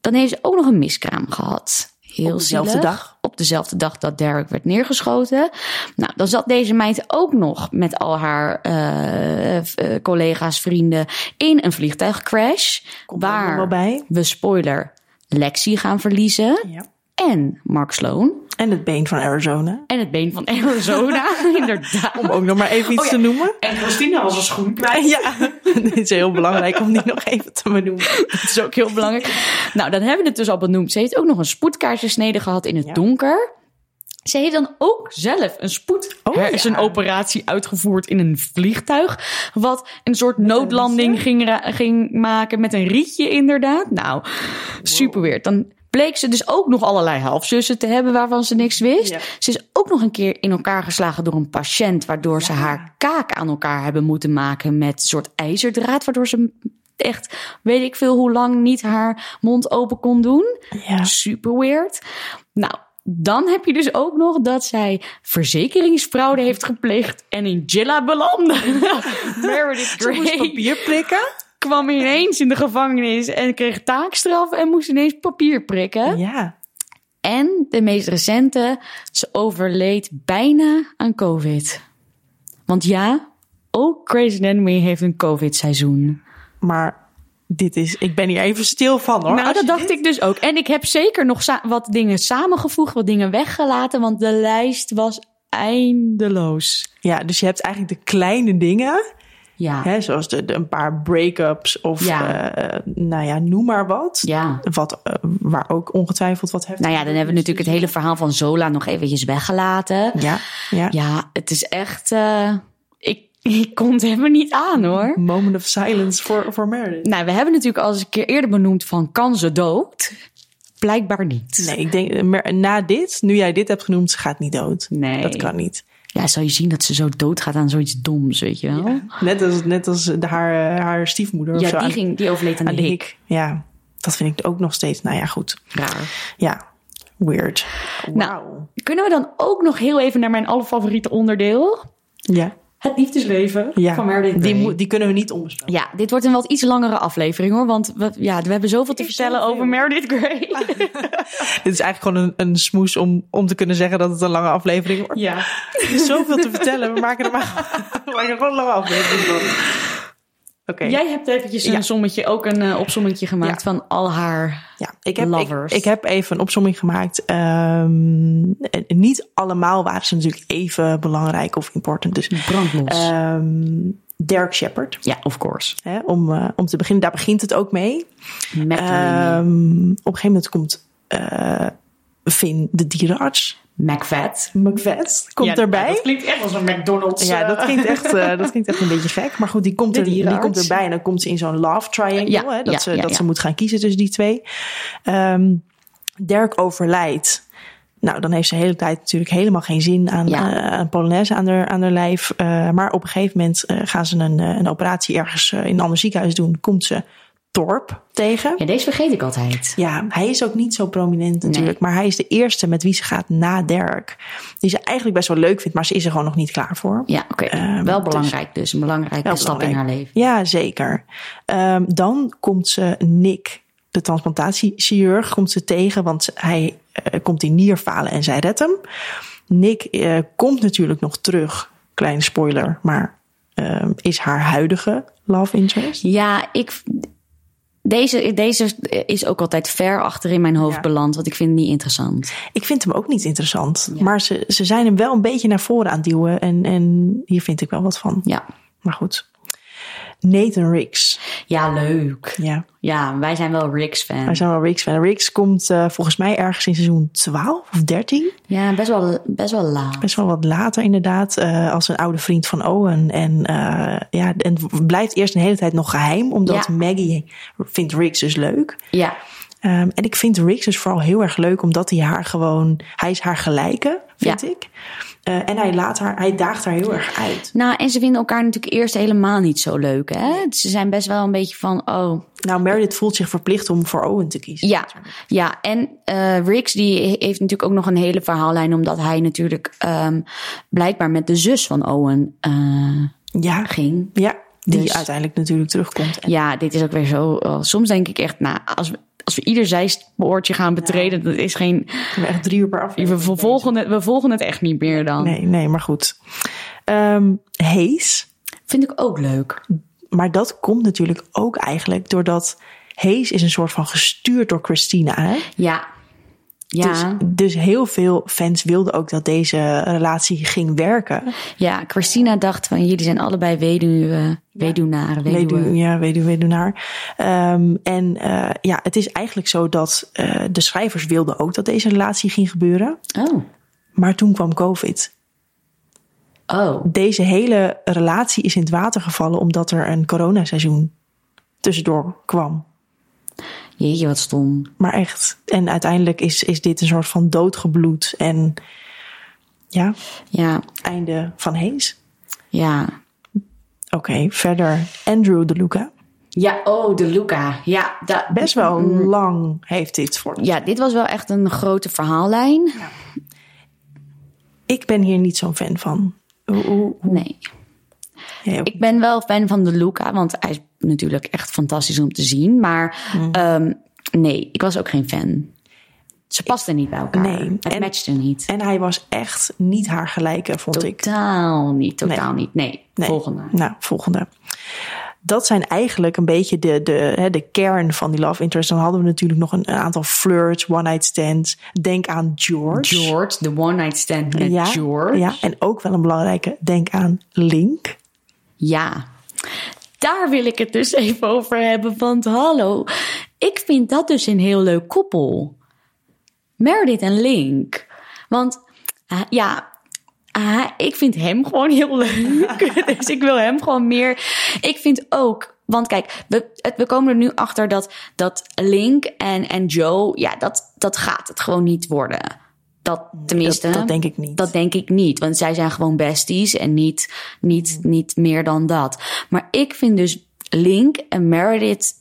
Speaker 1: Dan heeft ze ook nog een miskraam gehad. Heel
Speaker 2: Op dezelfde
Speaker 1: zielig.
Speaker 2: dag?
Speaker 1: Op dezelfde dag dat Derek werd neergeschoten. Nou, dan zat deze meid ook nog met al haar eh, v- eh, collega's, vrienden in een vliegtuigcrash.
Speaker 2: Komt ook nog
Speaker 1: waar
Speaker 2: wel bij.
Speaker 1: we, spoiler, Lexi gaan verliezen.
Speaker 2: Ja.
Speaker 1: En Mark Sloan.
Speaker 2: En het been van Arizona.
Speaker 1: En het been van Arizona, inderdaad.
Speaker 2: Om ook nog maar even iets
Speaker 1: Oh ja.
Speaker 2: te noemen.
Speaker 1: En Christina was een schoen kwijt.
Speaker 2: Ja, dit is heel belangrijk om die nog even te benoemen.
Speaker 1: Dat is ook heel belangrijk. Nou, dan hebben we het dus al benoemd. Ze heeft ook nog een spoedkaarsjesnede gehad in het
Speaker 2: Ja.
Speaker 1: donker. Ze heeft dan ook zelf een spoed.
Speaker 2: Oh,
Speaker 1: er is
Speaker 2: ja.
Speaker 1: een operatie uitgevoerd in een vliegtuig. Wat een soort noodlanding ging, ra- ging maken met een rietje, inderdaad. Nou, super weird. Dan bleek ze dus ook nog allerlei halfzussen te hebben waarvan ze niks wist.
Speaker 2: Ja.
Speaker 1: Ze is ook nog een keer in elkaar geslagen door een patiënt. Waardoor ze haar kaak aan elkaar hebben moeten maken met een soort ijzerdraad. Waardoor ze echt, weet ik veel hoe lang, niet haar mond open kon doen.
Speaker 2: Ja.
Speaker 1: Super weird. Nou, dan heb je dus ook nog dat zij verzekeringsfraude heeft gepleegd en in Jilla belandde. Meredith
Speaker 2: Ze moest
Speaker 1: Grey
Speaker 2: papier prikken.
Speaker 1: kwam ineens in de gevangenis en kreeg taakstraf en moest ineens papier prikken.
Speaker 2: Ja.
Speaker 1: En de meest recente, ze overleed bijna aan COVID. Want ja, ook Crazy Anatomy heeft een COVID-seizoen.
Speaker 2: Maar dit is, ik ben hier even stil van hoor.
Speaker 1: Nou,
Speaker 2: Als
Speaker 1: dat
Speaker 2: je
Speaker 1: dacht
Speaker 2: dit-
Speaker 1: ik dus ook. En ik heb zeker nog sa- wat dingen samengevoegd, wat dingen weggelaten, want de lijst was eindeloos.
Speaker 2: Ja, dus je hebt eigenlijk de kleine dingen
Speaker 1: Ja.
Speaker 2: Hè, zoals de, de een paar break-ups of
Speaker 1: Ja.
Speaker 2: eh, nou ja, noem maar wat.
Speaker 1: Ja.
Speaker 2: wat eh, waar ook ongetwijfeld wat heeft.
Speaker 1: Nou ja, dan hebben we natuurlijk het hele verhaal van Zola nog eventjes weggelaten.
Speaker 2: Ja, ja.
Speaker 1: Ja, het is echt. eh, ik, ik kon het helemaal niet aan hoor.
Speaker 2: Moment of silence voor, voor Meredith.
Speaker 1: Nou, we hebben natuurlijk al eens een keer eerder benoemd van kan ze dood? Blijkbaar niet.
Speaker 2: Nee, ik denk, eh, Mer- na dit, nu jij dit hebt genoemd, ze gaat niet dood.
Speaker 1: Nee.
Speaker 2: Dat kan niet.
Speaker 1: Ja, zou je zien dat ze zo dood gaat aan zoiets doms, weet je wel? Ja,
Speaker 2: Net als, net als de, haar, eh, haar stiefmoeder of zo. aan-
Speaker 1: die, ging, die overleed aan,
Speaker 2: aan
Speaker 1: de hik.
Speaker 2: Ja, dat vind ik ook nog steeds. Nou ja, goed.
Speaker 1: Raar.
Speaker 2: Ja, weird.
Speaker 1: Nou, kunnen we dan ook nog heel even naar mijn allerfavoriete onderdeel?
Speaker 2: Ja,
Speaker 1: Het liefdesleven
Speaker 2: ja.
Speaker 1: van Meredith
Speaker 2: die,
Speaker 1: Grey.
Speaker 2: moet- die kunnen we niet onbespreken.
Speaker 1: Ja, dit wordt een wat iets langere aflevering hoor. Want we, ja, we hebben zoveel te vertellen over Meredith Grey.
Speaker 2: Dit is eigenlijk gewoon een, een smoes om, om te kunnen zeggen dat het een lange aflevering wordt.
Speaker 1: ja.
Speaker 2: Er is zoveel te vertellen. We maken er maar we maken er gewoon een lange aflevering van. Oké.
Speaker 1: Jij hebt eventjes een
Speaker 2: Ja.
Speaker 1: sommetje, ook een eh, opsommetje gemaakt van al haar...
Speaker 2: Ja, ik heb, ik,
Speaker 1: Lovers.
Speaker 2: ik heb even een opsomming gemaakt. Ehm, eh, niet allemaal waren ze natuurlijk even belangrijk of important. Dus
Speaker 1: Brandlos.
Speaker 2: ehm, Derek Shepard,
Speaker 1: ja, of course.
Speaker 2: hè, om, eh, om te beginnen, daar begint het ook mee.
Speaker 1: Eh, McLean.
Speaker 2: Ehm, op een gegeven moment komt eh Finn, de dierenarts,
Speaker 1: McFat.
Speaker 2: McVet, komt erbij.
Speaker 1: nou, klinkt echt als een McDonald's.
Speaker 2: ja, dat klinkt, echt, eh, dat klinkt echt een beetje gek. Maar goed, die komt,
Speaker 1: De
Speaker 2: er, die
Speaker 1: dierenarts.
Speaker 2: komt erbij en dan komt ze in zo'n love triangle.
Speaker 1: Ja,
Speaker 2: hè, dat
Speaker 1: ja,
Speaker 2: ze,
Speaker 1: ja,
Speaker 2: dat
Speaker 1: ja.
Speaker 2: ze moet gaan kiezen tussen die twee. Ehm, Dirk overlijdt. Nou, dan heeft ze de hele tijd natuurlijk helemaal geen zin aan,
Speaker 1: Ja.
Speaker 2: eh, aan Polonaise aan haar, aan haar lijf. Eh, maar op een gegeven moment eh, gaan ze een, eh, een operatie ergens eh, in een ander ziekenhuis doen. Komt ze Torp tegen.
Speaker 1: Ja, deze vergeet ik altijd.
Speaker 2: Ja, hij is ook niet zo prominent natuurlijk. Maar hij is de eerste met wie ze gaat na Dirk. Die ze eigenlijk best wel leuk vindt, maar ze is er gewoon nog niet klaar voor.
Speaker 1: Ja, oké.
Speaker 2: Ehm,
Speaker 1: wel
Speaker 2: dus-
Speaker 1: belangrijk dus. Een belangrijke
Speaker 2: Wel
Speaker 1: stap in
Speaker 2: belangrijk.
Speaker 1: haar leven.
Speaker 2: Ja, zeker. Ehm, dan komt ze Nick, de transplantatiechirurg, komt ze tegen, want hij eh, komt in nierfalen en zij redt hem. Nick eh, komt natuurlijk nog terug, kleine spoiler, maar ehm, is haar huidige love interest.
Speaker 1: Ja, ik... Deze, deze is ook altijd ver achter in mijn hoofd
Speaker 2: Ja.
Speaker 1: beland. Want ik vind het niet interessant.
Speaker 2: Ik vind hem ook niet interessant,
Speaker 1: Ja.
Speaker 2: maar ze, ze zijn hem wel een beetje naar voren aan het duwen en, en hier vind ik wel wat van.
Speaker 1: Ja.
Speaker 2: Maar goed. Nathan Riggs.
Speaker 1: Ja, leuk.
Speaker 2: Ja,
Speaker 1: Ja, wij zijn wel Rick's fan.
Speaker 2: wij zijn wel Riggs fan. Riggs komt eh, volgens mij ergens in seizoen 12 of 13.
Speaker 1: Ja, best wel, best wel laag.
Speaker 2: Best wel wat later inderdaad, eh, als een oude vriend van Owen. En, eh, ja, en het blijft eerst een hele tijd nog geheim, omdat
Speaker 1: Ja.
Speaker 2: Maggie vindt Riggs dus leuk.
Speaker 1: Ja,
Speaker 2: Ehm, en ik vind Riggs dus vooral heel erg leuk, omdat hij haar gewoon, hij is haar gelijke, vind
Speaker 1: Ja.
Speaker 2: ik. Eh, en hij, laat haar, hij daagt haar heel erg uit.
Speaker 1: nou en ze vinden elkaar natuurlijk eerst helemaal niet zo leuk. Hè? Ze zijn best wel een beetje van, oh,
Speaker 2: Nou, Meredith voelt zich verplicht om voor Owen te kiezen.
Speaker 1: Ja, ja. en eh Riggs die he- heeft natuurlijk ook nog een hele verhaallijn... omdat hij natuurlijk ehm, blijkbaar met de zus van Owen eh,
Speaker 2: Ja,
Speaker 1: ging.
Speaker 2: ja die
Speaker 1: Dus-
Speaker 2: uiteindelijk natuurlijk terugkomt.
Speaker 1: Ja, dit is ook weer zo... oh, soms denk ik echt, nou, als we, als we ieder zijspoortje gaan betreden... dat is geen...
Speaker 2: We echt drie uur per aflevering.
Speaker 1: We volgen, het, we volgen het echt niet meer dan.
Speaker 2: Nee, nee, maar goed. Ehm Hayes.
Speaker 1: Vind ik ook leuk.
Speaker 2: Maar dat komt natuurlijk ook eigenlijk doordat Hayes is een soort van gestuurd door Christina. Hè?
Speaker 1: Ja. Ja,
Speaker 2: Dus, dus heel veel fans wilden ook dat deze relatie ging werken.
Speaker 1: ja, Christina dacht van jullie zijn allebei weduwen, weduwnaren, weduwen.
Speaker 2: Weduw, ja, weduw, weduwnaar. Ehm, en eh, ja, het is eigenlijk zo dat eh, de schrijvers wilden ook dat deze relatie ging gebeuren.
Speaker 1: Oh,
Speaker 2: Maar toen kwam COVID.
Speaker 1: oh,
Speaker 2: Deze hele relatie is in het water gevallen omdat er een coronaseizoen tussendoor kwam.
Speaker 1: jeetje wat stom.
Speaker 2: Maar echt. En uiteindelijk is, is dit een soort van doodgebloed. En ja,
Speaker 1: Ja,
Speaker 2: einde van Hees.
Speaker 1: ja.
Speaker 2: Oké, verder Andrew de Luca.
Speaker 1: Ja, oh, de Luca. Ja, da-
Speaker 2: Best wel lang heeft dit voor.
Speaker 1: ja, dit was wel echt een grote verhaallijn.
Speaker 2: Ik ben hier niet zo'n fan van. Hoe- hoe- hoe-
Speaker 1: Nee.
Speaker 2: ja,
Speaker 1: Ik ben wel fan van de Luca, want hij is natuurlijk echt fantastisch om te zien. Maar
Speaker 2: Mm.
Speaker 1: ehm, nee, ik was ook geen fan. Ze pasten niet bij elkaar.
Speaker 2: Nee,
Speaker 1: Het
Speaker 2: en-
Speaker 1: matchte niet.
Speaker 2: En hij was echt niet haar gelijke, vond ik.
Speaker 1: Totaal niet, totaal niet. Nee,
Speaker 2: Nee.
Speaker 1: volgende.
Speaker 2: Nou, volgende. Dat zijn eigenlijk een beetje de, de, hè, de kern van die love interest. Dan hadden we natuurlijk nog een, een aantal flirts, one-night stands. Denk aan
Speaker 1: George, de one night stand met George.
Speaker 2: Ja, en ook wel een belangrijke, denk aan Link.
Speaker 1: Ja. Daar wil ik het dus even over hebben. Want hallo, ik vind dat dus een heel leuk koppel. Meredith en Link. Want ah, ja, ah, ik vind hem gewoon heel leuk. dus ik wil hem gewoon meer. Ik vind ook. Want kijk, we, het, we komen er nu achter dat, dat Link en, en Joe, ja, dat, dat gaat het gewoon niet worden. Dat tenminste.
Speaker 2: dat denk ik niet.
Speaker 1: Dat denk ik niet. Want zij zijn gewoon besties en niet, niet, niet meer dan dat. Maar ik vind dus Link en Meredith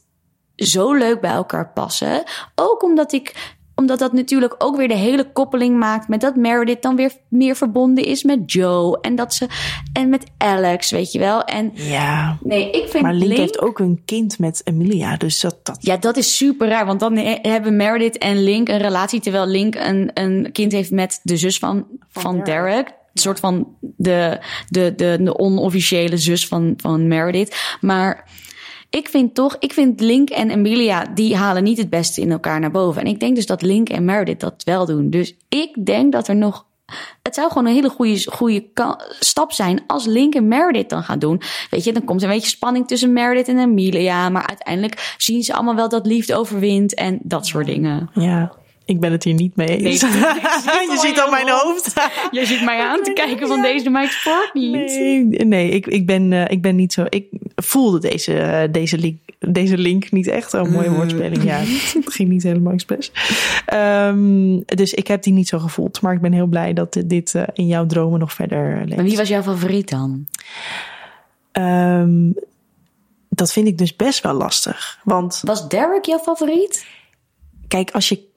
Speaker 1: zo leuk bij elkaar passen. Ook omdat ik omdat dat natuurlijk ook weer de hele koppeling maakt met dat Meredith dan weer meer verbonden is met Joe en dat ze en met Alex, weet je wel? En
Speaker 2: Ja.
Speaker 1: nee, ik vind
Speaker 2: Maar Link,
Speaker 1: Link-
Speaker 2: heeft ook een kind met Emilia. Dus dat, dat
Speaker 1: ja, dat is super raar. Want dan he- hebben Meredith en Link een relatie. Terwijl Link een, een kind heeft met de zus van, van, Derek. Een soort van de, de, de, de onofficiële zus van, van Meredith. Maar ik vind toch, ik vind Link en Emilia, die halen niet het beste in elkaar naar boven. En ik denk dus dat Link en Meredith dat wel doen. Dus ik denk dat er nog. Het zou gewoon een hele goede, goede ka- stap zijn als Link en Meredith dan gaan doen. Weet je, dan komt er een beetje spanning tussen Meredith en Emilia. Maar uiteindelijk zien ze allemaal wel dat liefde overwint en dat soort dingen.
Speaker 2: Ja, ik ben het hier niet mee eens.
Speaker 1: Nee,
Speaker 2: je ziet al mijn hoofd.
Speaker 1: Je zit mij aan te kijken van deze maakt sport niet.
Speaker 2: Nee, nee ik, ik, ben, eh, ik ben niet zo. Ik voelde deze, eh, deze, link, deze link niet echt. Oh,
Speaker 1: Mm.
Speaker 2: mooie woordspeling. Ja, het ging niet helemaal expres. Ehm, dus ik heb die niet zo gevoeld. Maar ik ben heel blij dat dit, dit, eh, in jouw dromen nog verder leeft.
Speaker 1: Maar wie was jouw favoriet dan?
Speaker 2: Ehm, dat vind ik dus best wel lastig. Want
Speaker 1: Was Derek jouw favoriet?
Speaker 2: kijk, als je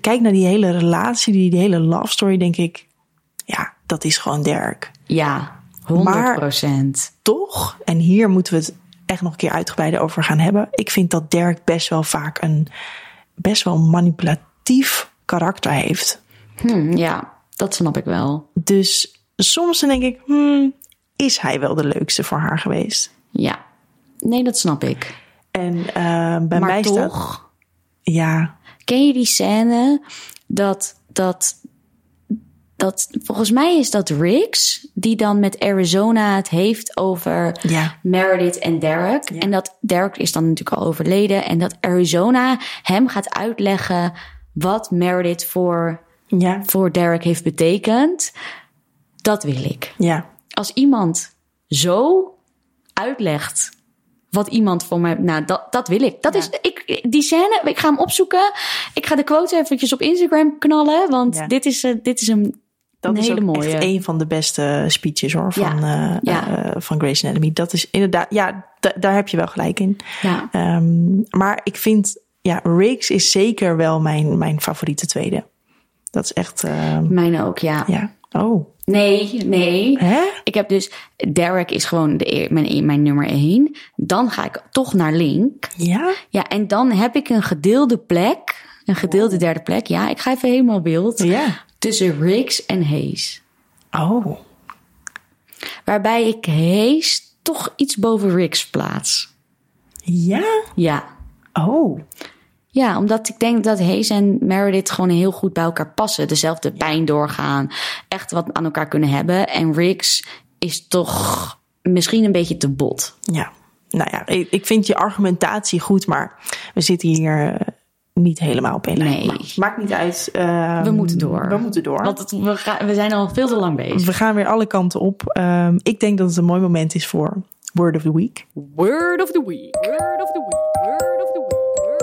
Speaker 2: kijkt naar die hele relatie, die, die hele love story, denk ik, ja, dat is gewoon Dirk.
Speaker 1: Ja, 100 procent.
Speaker 2: Toch, en hier moeten we het echt nog een keer uitgebreider over gaan hebben. Ik vind dat Dirk best wel vaak een best wel manipulatief karakter heeft.
Speaker 1: Hm, ja, dat snap ik wel.
Speaker 2: Dus soms dan denk ik, hmm, is hij wel de leukste voor haar geweest?
Speaker 1: Ja. Nee, dat snap ik.
Speaker 2: En eh, bij
Speaker 1: maar
Speaker 2: mij
Speaker 1: toch,
Speaker 2: staat... Ja,
Speaker 1: ken je die scène dat, dat, dat, volgens mij is dat Riggs, die dan met Arizona het heeft over
Speaker 2: Ja.
Speaker 1: Meredith en Derek. En dat Derek is dan natuurlijk al overleden en dat Arizona hem gaat uitleggen wat Meredith voor,
Speaker 2: ja,
Speaker 1: voor Derek heeft betekend. Dat wil ik.
Speaker 2: ja.
Speaker 1: Als iemand zo uitlegt wat iemand voor mij. Nou, dat, dat wil ik. Dat is, ik. Die scène, ik ga hem opzoeken. Ik ga de quote eventjes op Instagram knallen. Want
Speaker 2: Ja.
Speaker 1: dit, is, eh, dit is een,
Speaker 2: Dat
Speaker 1: een
Speaker 2: is
Speaker 1: hele
Speaker 2: ook
Speaker 1: mooie.
Speaker 2: echt een van de beste speeches hoor, van, eh,
Speaker 1: ja.
Speaker 2: eh, van Grace Anatomy. Dat is inderdaad, ja, da- daar heb je wel gelijk in.
Speaker 1: Ja.
Speaker 2: Ehm, maar ik vind, ja, Riggs is zeker wel mijn, mijn favoriete tweede. Dat is echt, ehm,
Speaker 1: Mijne ook, ja.
Speaker 2: ja. Oh,
Speaker 1: Nee, nee.
Speaker 2: hè?
Speaker 1: Ik heb dus. Derek is gewoon de, e- mijn, mijn nummer één. Dan ga ik toch naar Link.
Speaker 2: Ja?
Speaker 1: Ja, en dan heb ik een gedeelde plek. Een gedeelde derde plek. Ja, ik ga even helemaal beeld.
Speaker 2: Ja.
Speaker 1: Tussen Riggs en Hayes.
Speaker 2: Oh,
Speaker 1: Waarbij ik Hayes toch iets boven Riggs plaats.
Speaker 2: ja?
Speaker 1: Ja.
Speaker 2: Oh,
Speaker 1: Ja, omdat ik denk dat Hayes en Meredith gewoon heel goed bij elkaar passen. Dezelfde pijn doorgaan. Echt wat aan elkaar kunnen hebben. En Riggs is toch misschien een beetje te bot.
Speaker 2: ja. Nou ja, ik, ik vind je argumentatie goed, maar we zitten hier eh, niet helemaal op één lijn.
Speaker 1: Nee.
Speaker 2: Maar Maakt niet uit. ehm,
Speaker 1: We moeten door.
Speaker 2: We moeten door.
Speaker 1: Want het- we, gaan- we zijn al veel te lang bezig.
Speaker 2: We gaan weer alle kanten op. Ehm, ik denk dat het een mooi moment is voor Word of the Week.
Speaker 1: Word of the week. Word of the week. Word of the week. Word of the week. Word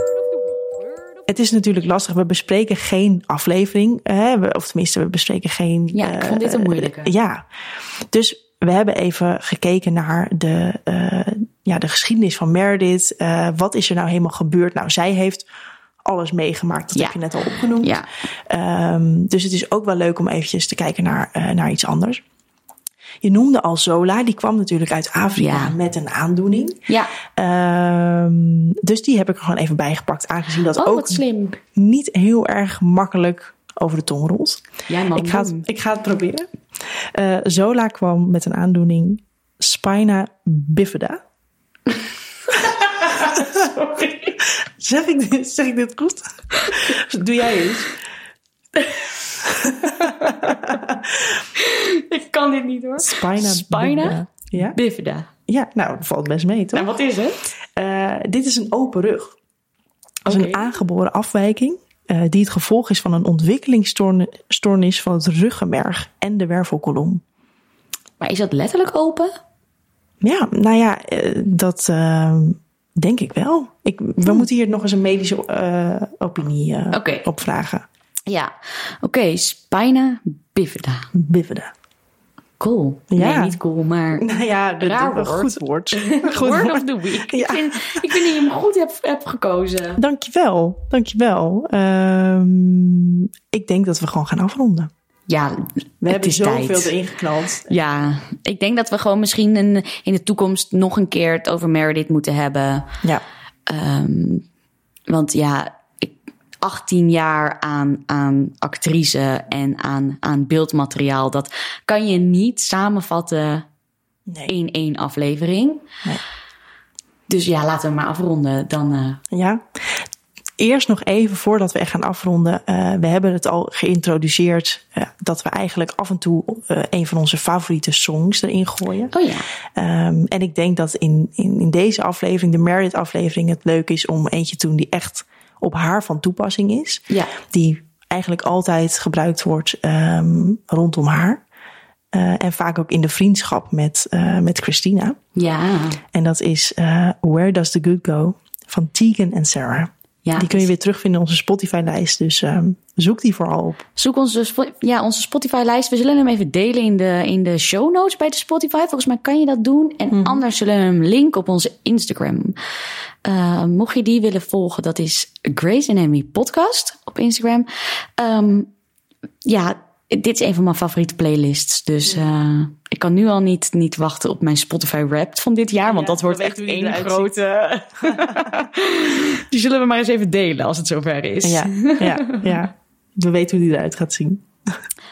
Speaker 1: of
Speaker 2: Het is natuurlijk lastig. We bespreken geen aflevering. Hè? We- Of tenminste, we bespreken geen.
Speaker 1: Ja, ik vond dit een
Speaker 2: eh,
Speaker 1: moeilijke.
Speaker 2: ja. Dus we hebben even gekeken naar de, eh, ja, de geschiedenis van Meredith. Eh, wat is er nou helemaal gebeurd? Nou, zij heeft alles meegemaakt. Dat
Speaker 1: Ja.
Speaker 2: heb je net al opgenoemd.
Speaker 1: Ja.
Speaker 2: Ehm, dus het is ook wel leuk om eventjes te kijken naar, eh, naar iets anders. Je noemde al Zola, die kwam natuurlijk uit Afrika
Speaker 1: Ja.
Speaker 2: met een aandoening.
Speaker 1: Ja.
Speaker 2: Ehm, dus die heb ik er gewoon even bijgepakt, aangezien dat
Speaker 1: Oh,
Speaker 2: ook
Speaker 1: wat slim.
Speaker 2: niet heel erg makkelijk over de tong rolt.
Speaker 1: Jij mag
Speaker 2: ik, ga het,
Speaker 1: doen.
Speaker 2: ik ga het proberen. Eh, Zola kwam met een aandoening spina bifida. zeg, ik dit, zeg ik dit goed? Doe jij eens.
Speaker 1: Ik kan dit niet hoor.
Speaker 2: Spina,
Speaker 1: Spina?
Speaker 2: bifida. Ja?
Speaker 1: Bifida.
Speaker 2: Ja, nou, dat valt best mee, toch?
Speaker 1: Nou, wat is het?
Speaker 2: Eh, dit is een open rug. Dat is een
Speaker 1: Oké.
Speaker 2: aangeboren afwijking eh, die het gevolg is van een ontwikkelingsstoornis van het ruggenmerg en de wervelkolom.
Speaker 1: Maar is dat letterlijk open?
Speaker 2: Ja, nou ja, eh, dat eh, denk ik wel. Ik, we moeten hier nog eens een medische eh, opinie eh,
Speaker 1: Oké.
Speaker 2: op vragen.
Speaker 1: Ja. Oké, spina bifida.
Speaker 2: Bivida.
Speaker 1: Cool.
Speaker 2: Ja.
Speaker 1: Nee, niet cool, maar...
Speaker 2: Nou ja, dat
Speaker 1: Raar
Speaker 2: een
Speaker 1: woord.
Speaker 2: goed woord. Goed
Speaker 1: Word
Speaker 2: woord.
Speaker 1: of the week.
Speaker 2: Ja.
Speaker 1: Ik, vind, ik vind dat je hem goed hebt, hebt gekozen.
Speaker 2: Dankjewel, dankjewel. Ehm ik denk dat we gewoon gaan afronden.
Speaker 1: Ja,
Speaker 2: We
Speaker 1: het
Speaker 2: hebben
Speaker 1: is
Speaker 2: zoveel
Speaker 1: tijd.
Speaker 2: erin geknald.
Speaker 1: Ja, ik denk dat we gewoon misschien een, in de toekomst nog een keer het over Meredith moeten hebben.
Speaker 2: Ja,
Speaker 1: Ehm, want ja, ik, 18 jaar aan, aan actrice en aan, aan beeldmateriaal, dat kan je niet samenvatten
Speaker 2: nee.
Speaker 1: in één aflevering.
Speaker 2: Nee.
Speaker 1: Dus ja, laten we maar afronden. Dan, eh,
Speaker 2: Ja. Eerst nog even voordat we echt gaan afronden. eh, we hebben het al geïntroduceerd eh, dat we eigenlijk af en toe eh, een van onze favoriete songs erin gooien.
Speaker 1: oh ja,
Speaker 2: Ehm, en ik denk dat in, in, in deze aflevering, de Meredith-aflevering, het leuk is om eentje te doen die echt op haar van toepassing is.
Speaker 1: Ja.
Speaker 2: Die eigenlijk altijd gebruikt wordt ehm, rondom haar. Eh, en vaak ook in de vriendschap met, eh, met Christina.
Speaker 1: ja,
Speaker 2: En dat is eh, Where Does the Good Go van Tegan en Sarah.
Speaker 1: Ja.
Speaker 2: Die kun je weer terugvinden in onze Spotify-lijst. Dus ehm, zoek die vooral op.
Speaker 1: zoek onze, Spo- ja, onze Spotify-lijst. We zullen hem even delen in de, in de show notes bij de Spotify. Volgens mij kan je dat doen. En anders zullen we hem linken op onze Instagram. Eh, mocht je die willen volgen, dat is Grace Amy Podcast op Instagram. Ehm, ja, dit is een van mijn favoriete playlists. Dus eh, ik kan nu al niet, niet wachten op mijn Spotify Wrapped van dit jaar. Want dat wordt echt één grote... die zullen we maar eens even delen als het zover is.
Speaker 2: Ja, ja, ja. We weten hoe die eruit gaat zien.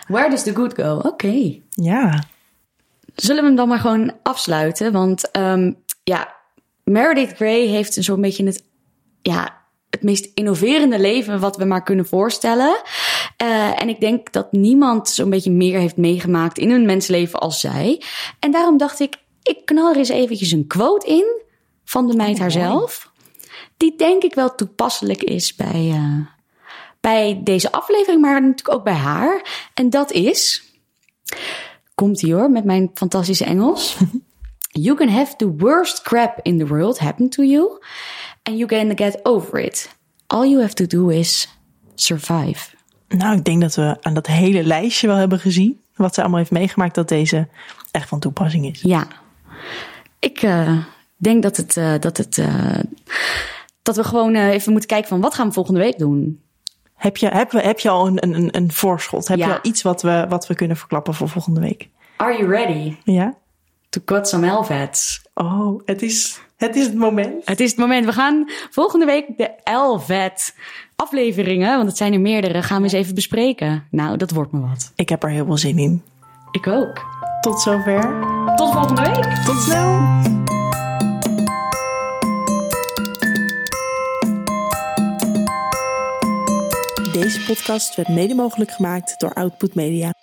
Speaker 1: Where does the good go? Oké.
Speaker 2: Ja,
Speaker 1: Zullen we hem dan maar gewoon afsluiten? Want ehm, ja, Meredith Grey heeft zo'n beetje het, ja, het meest innoverende leven wat we maar kunnen voorstellen. Eh, en ik denk dat niemand zo'n beetje meer heeft meegemaakt in hun mensleven als zij. En daarom dacht ik, ik knal er eens eventjes een quote in van de meid haarzelf. Die denk ik wel toepasselijk is bij, eh, bij deze aflevering, maar natuurlijk ook bij haar. En dat is... Komt ie hoor, met mijn fantastische Engels. you can have the worst crap in the world happen to you. And you can get over it. All you have to do is survive.
Speaker 2: nou ik denk dat we aan dat hele lijstje wel hebben gezien. Wat ze allemaal heeft meegemaakt, dat deze echt van toepassing is.
Speaker 1: Ja. Ik eh, denk dat, het, eh, dat, het, eh, dat we gewoon eh, even moeten kijken van wat gaan we volgende week doen.
Speaker 2: Heb je, heb, we- heb je al een, een- een, een voorschot? Heb
Speaker 1: Ja.
Speaker 2: je al iets wat we, wat we kunnen verklappen voor volgende week?
Speaker 1: Are you ready
Speaker 2: Ja?
Speaker 1: to cut some Elvets?
Speaker 2: Oh, het is het, is het moment.
Speaker 1: Het is het moment. We gaan volgende week de Elvet afleveringen, want het zijn er meerdere, gaan we eens even bespreken. Nou, dat wordt me wat.
Speaker 2: Ik heb er heel veel zin in.
Speaker 1: Ik ook.
Speaker 2: Tot zover.
Speaker 1: Tot volgende week.
Speaker 2: Tot snel.
Speaker 3: Deze podcast werd mede mogelijk gemaakt door Output Media.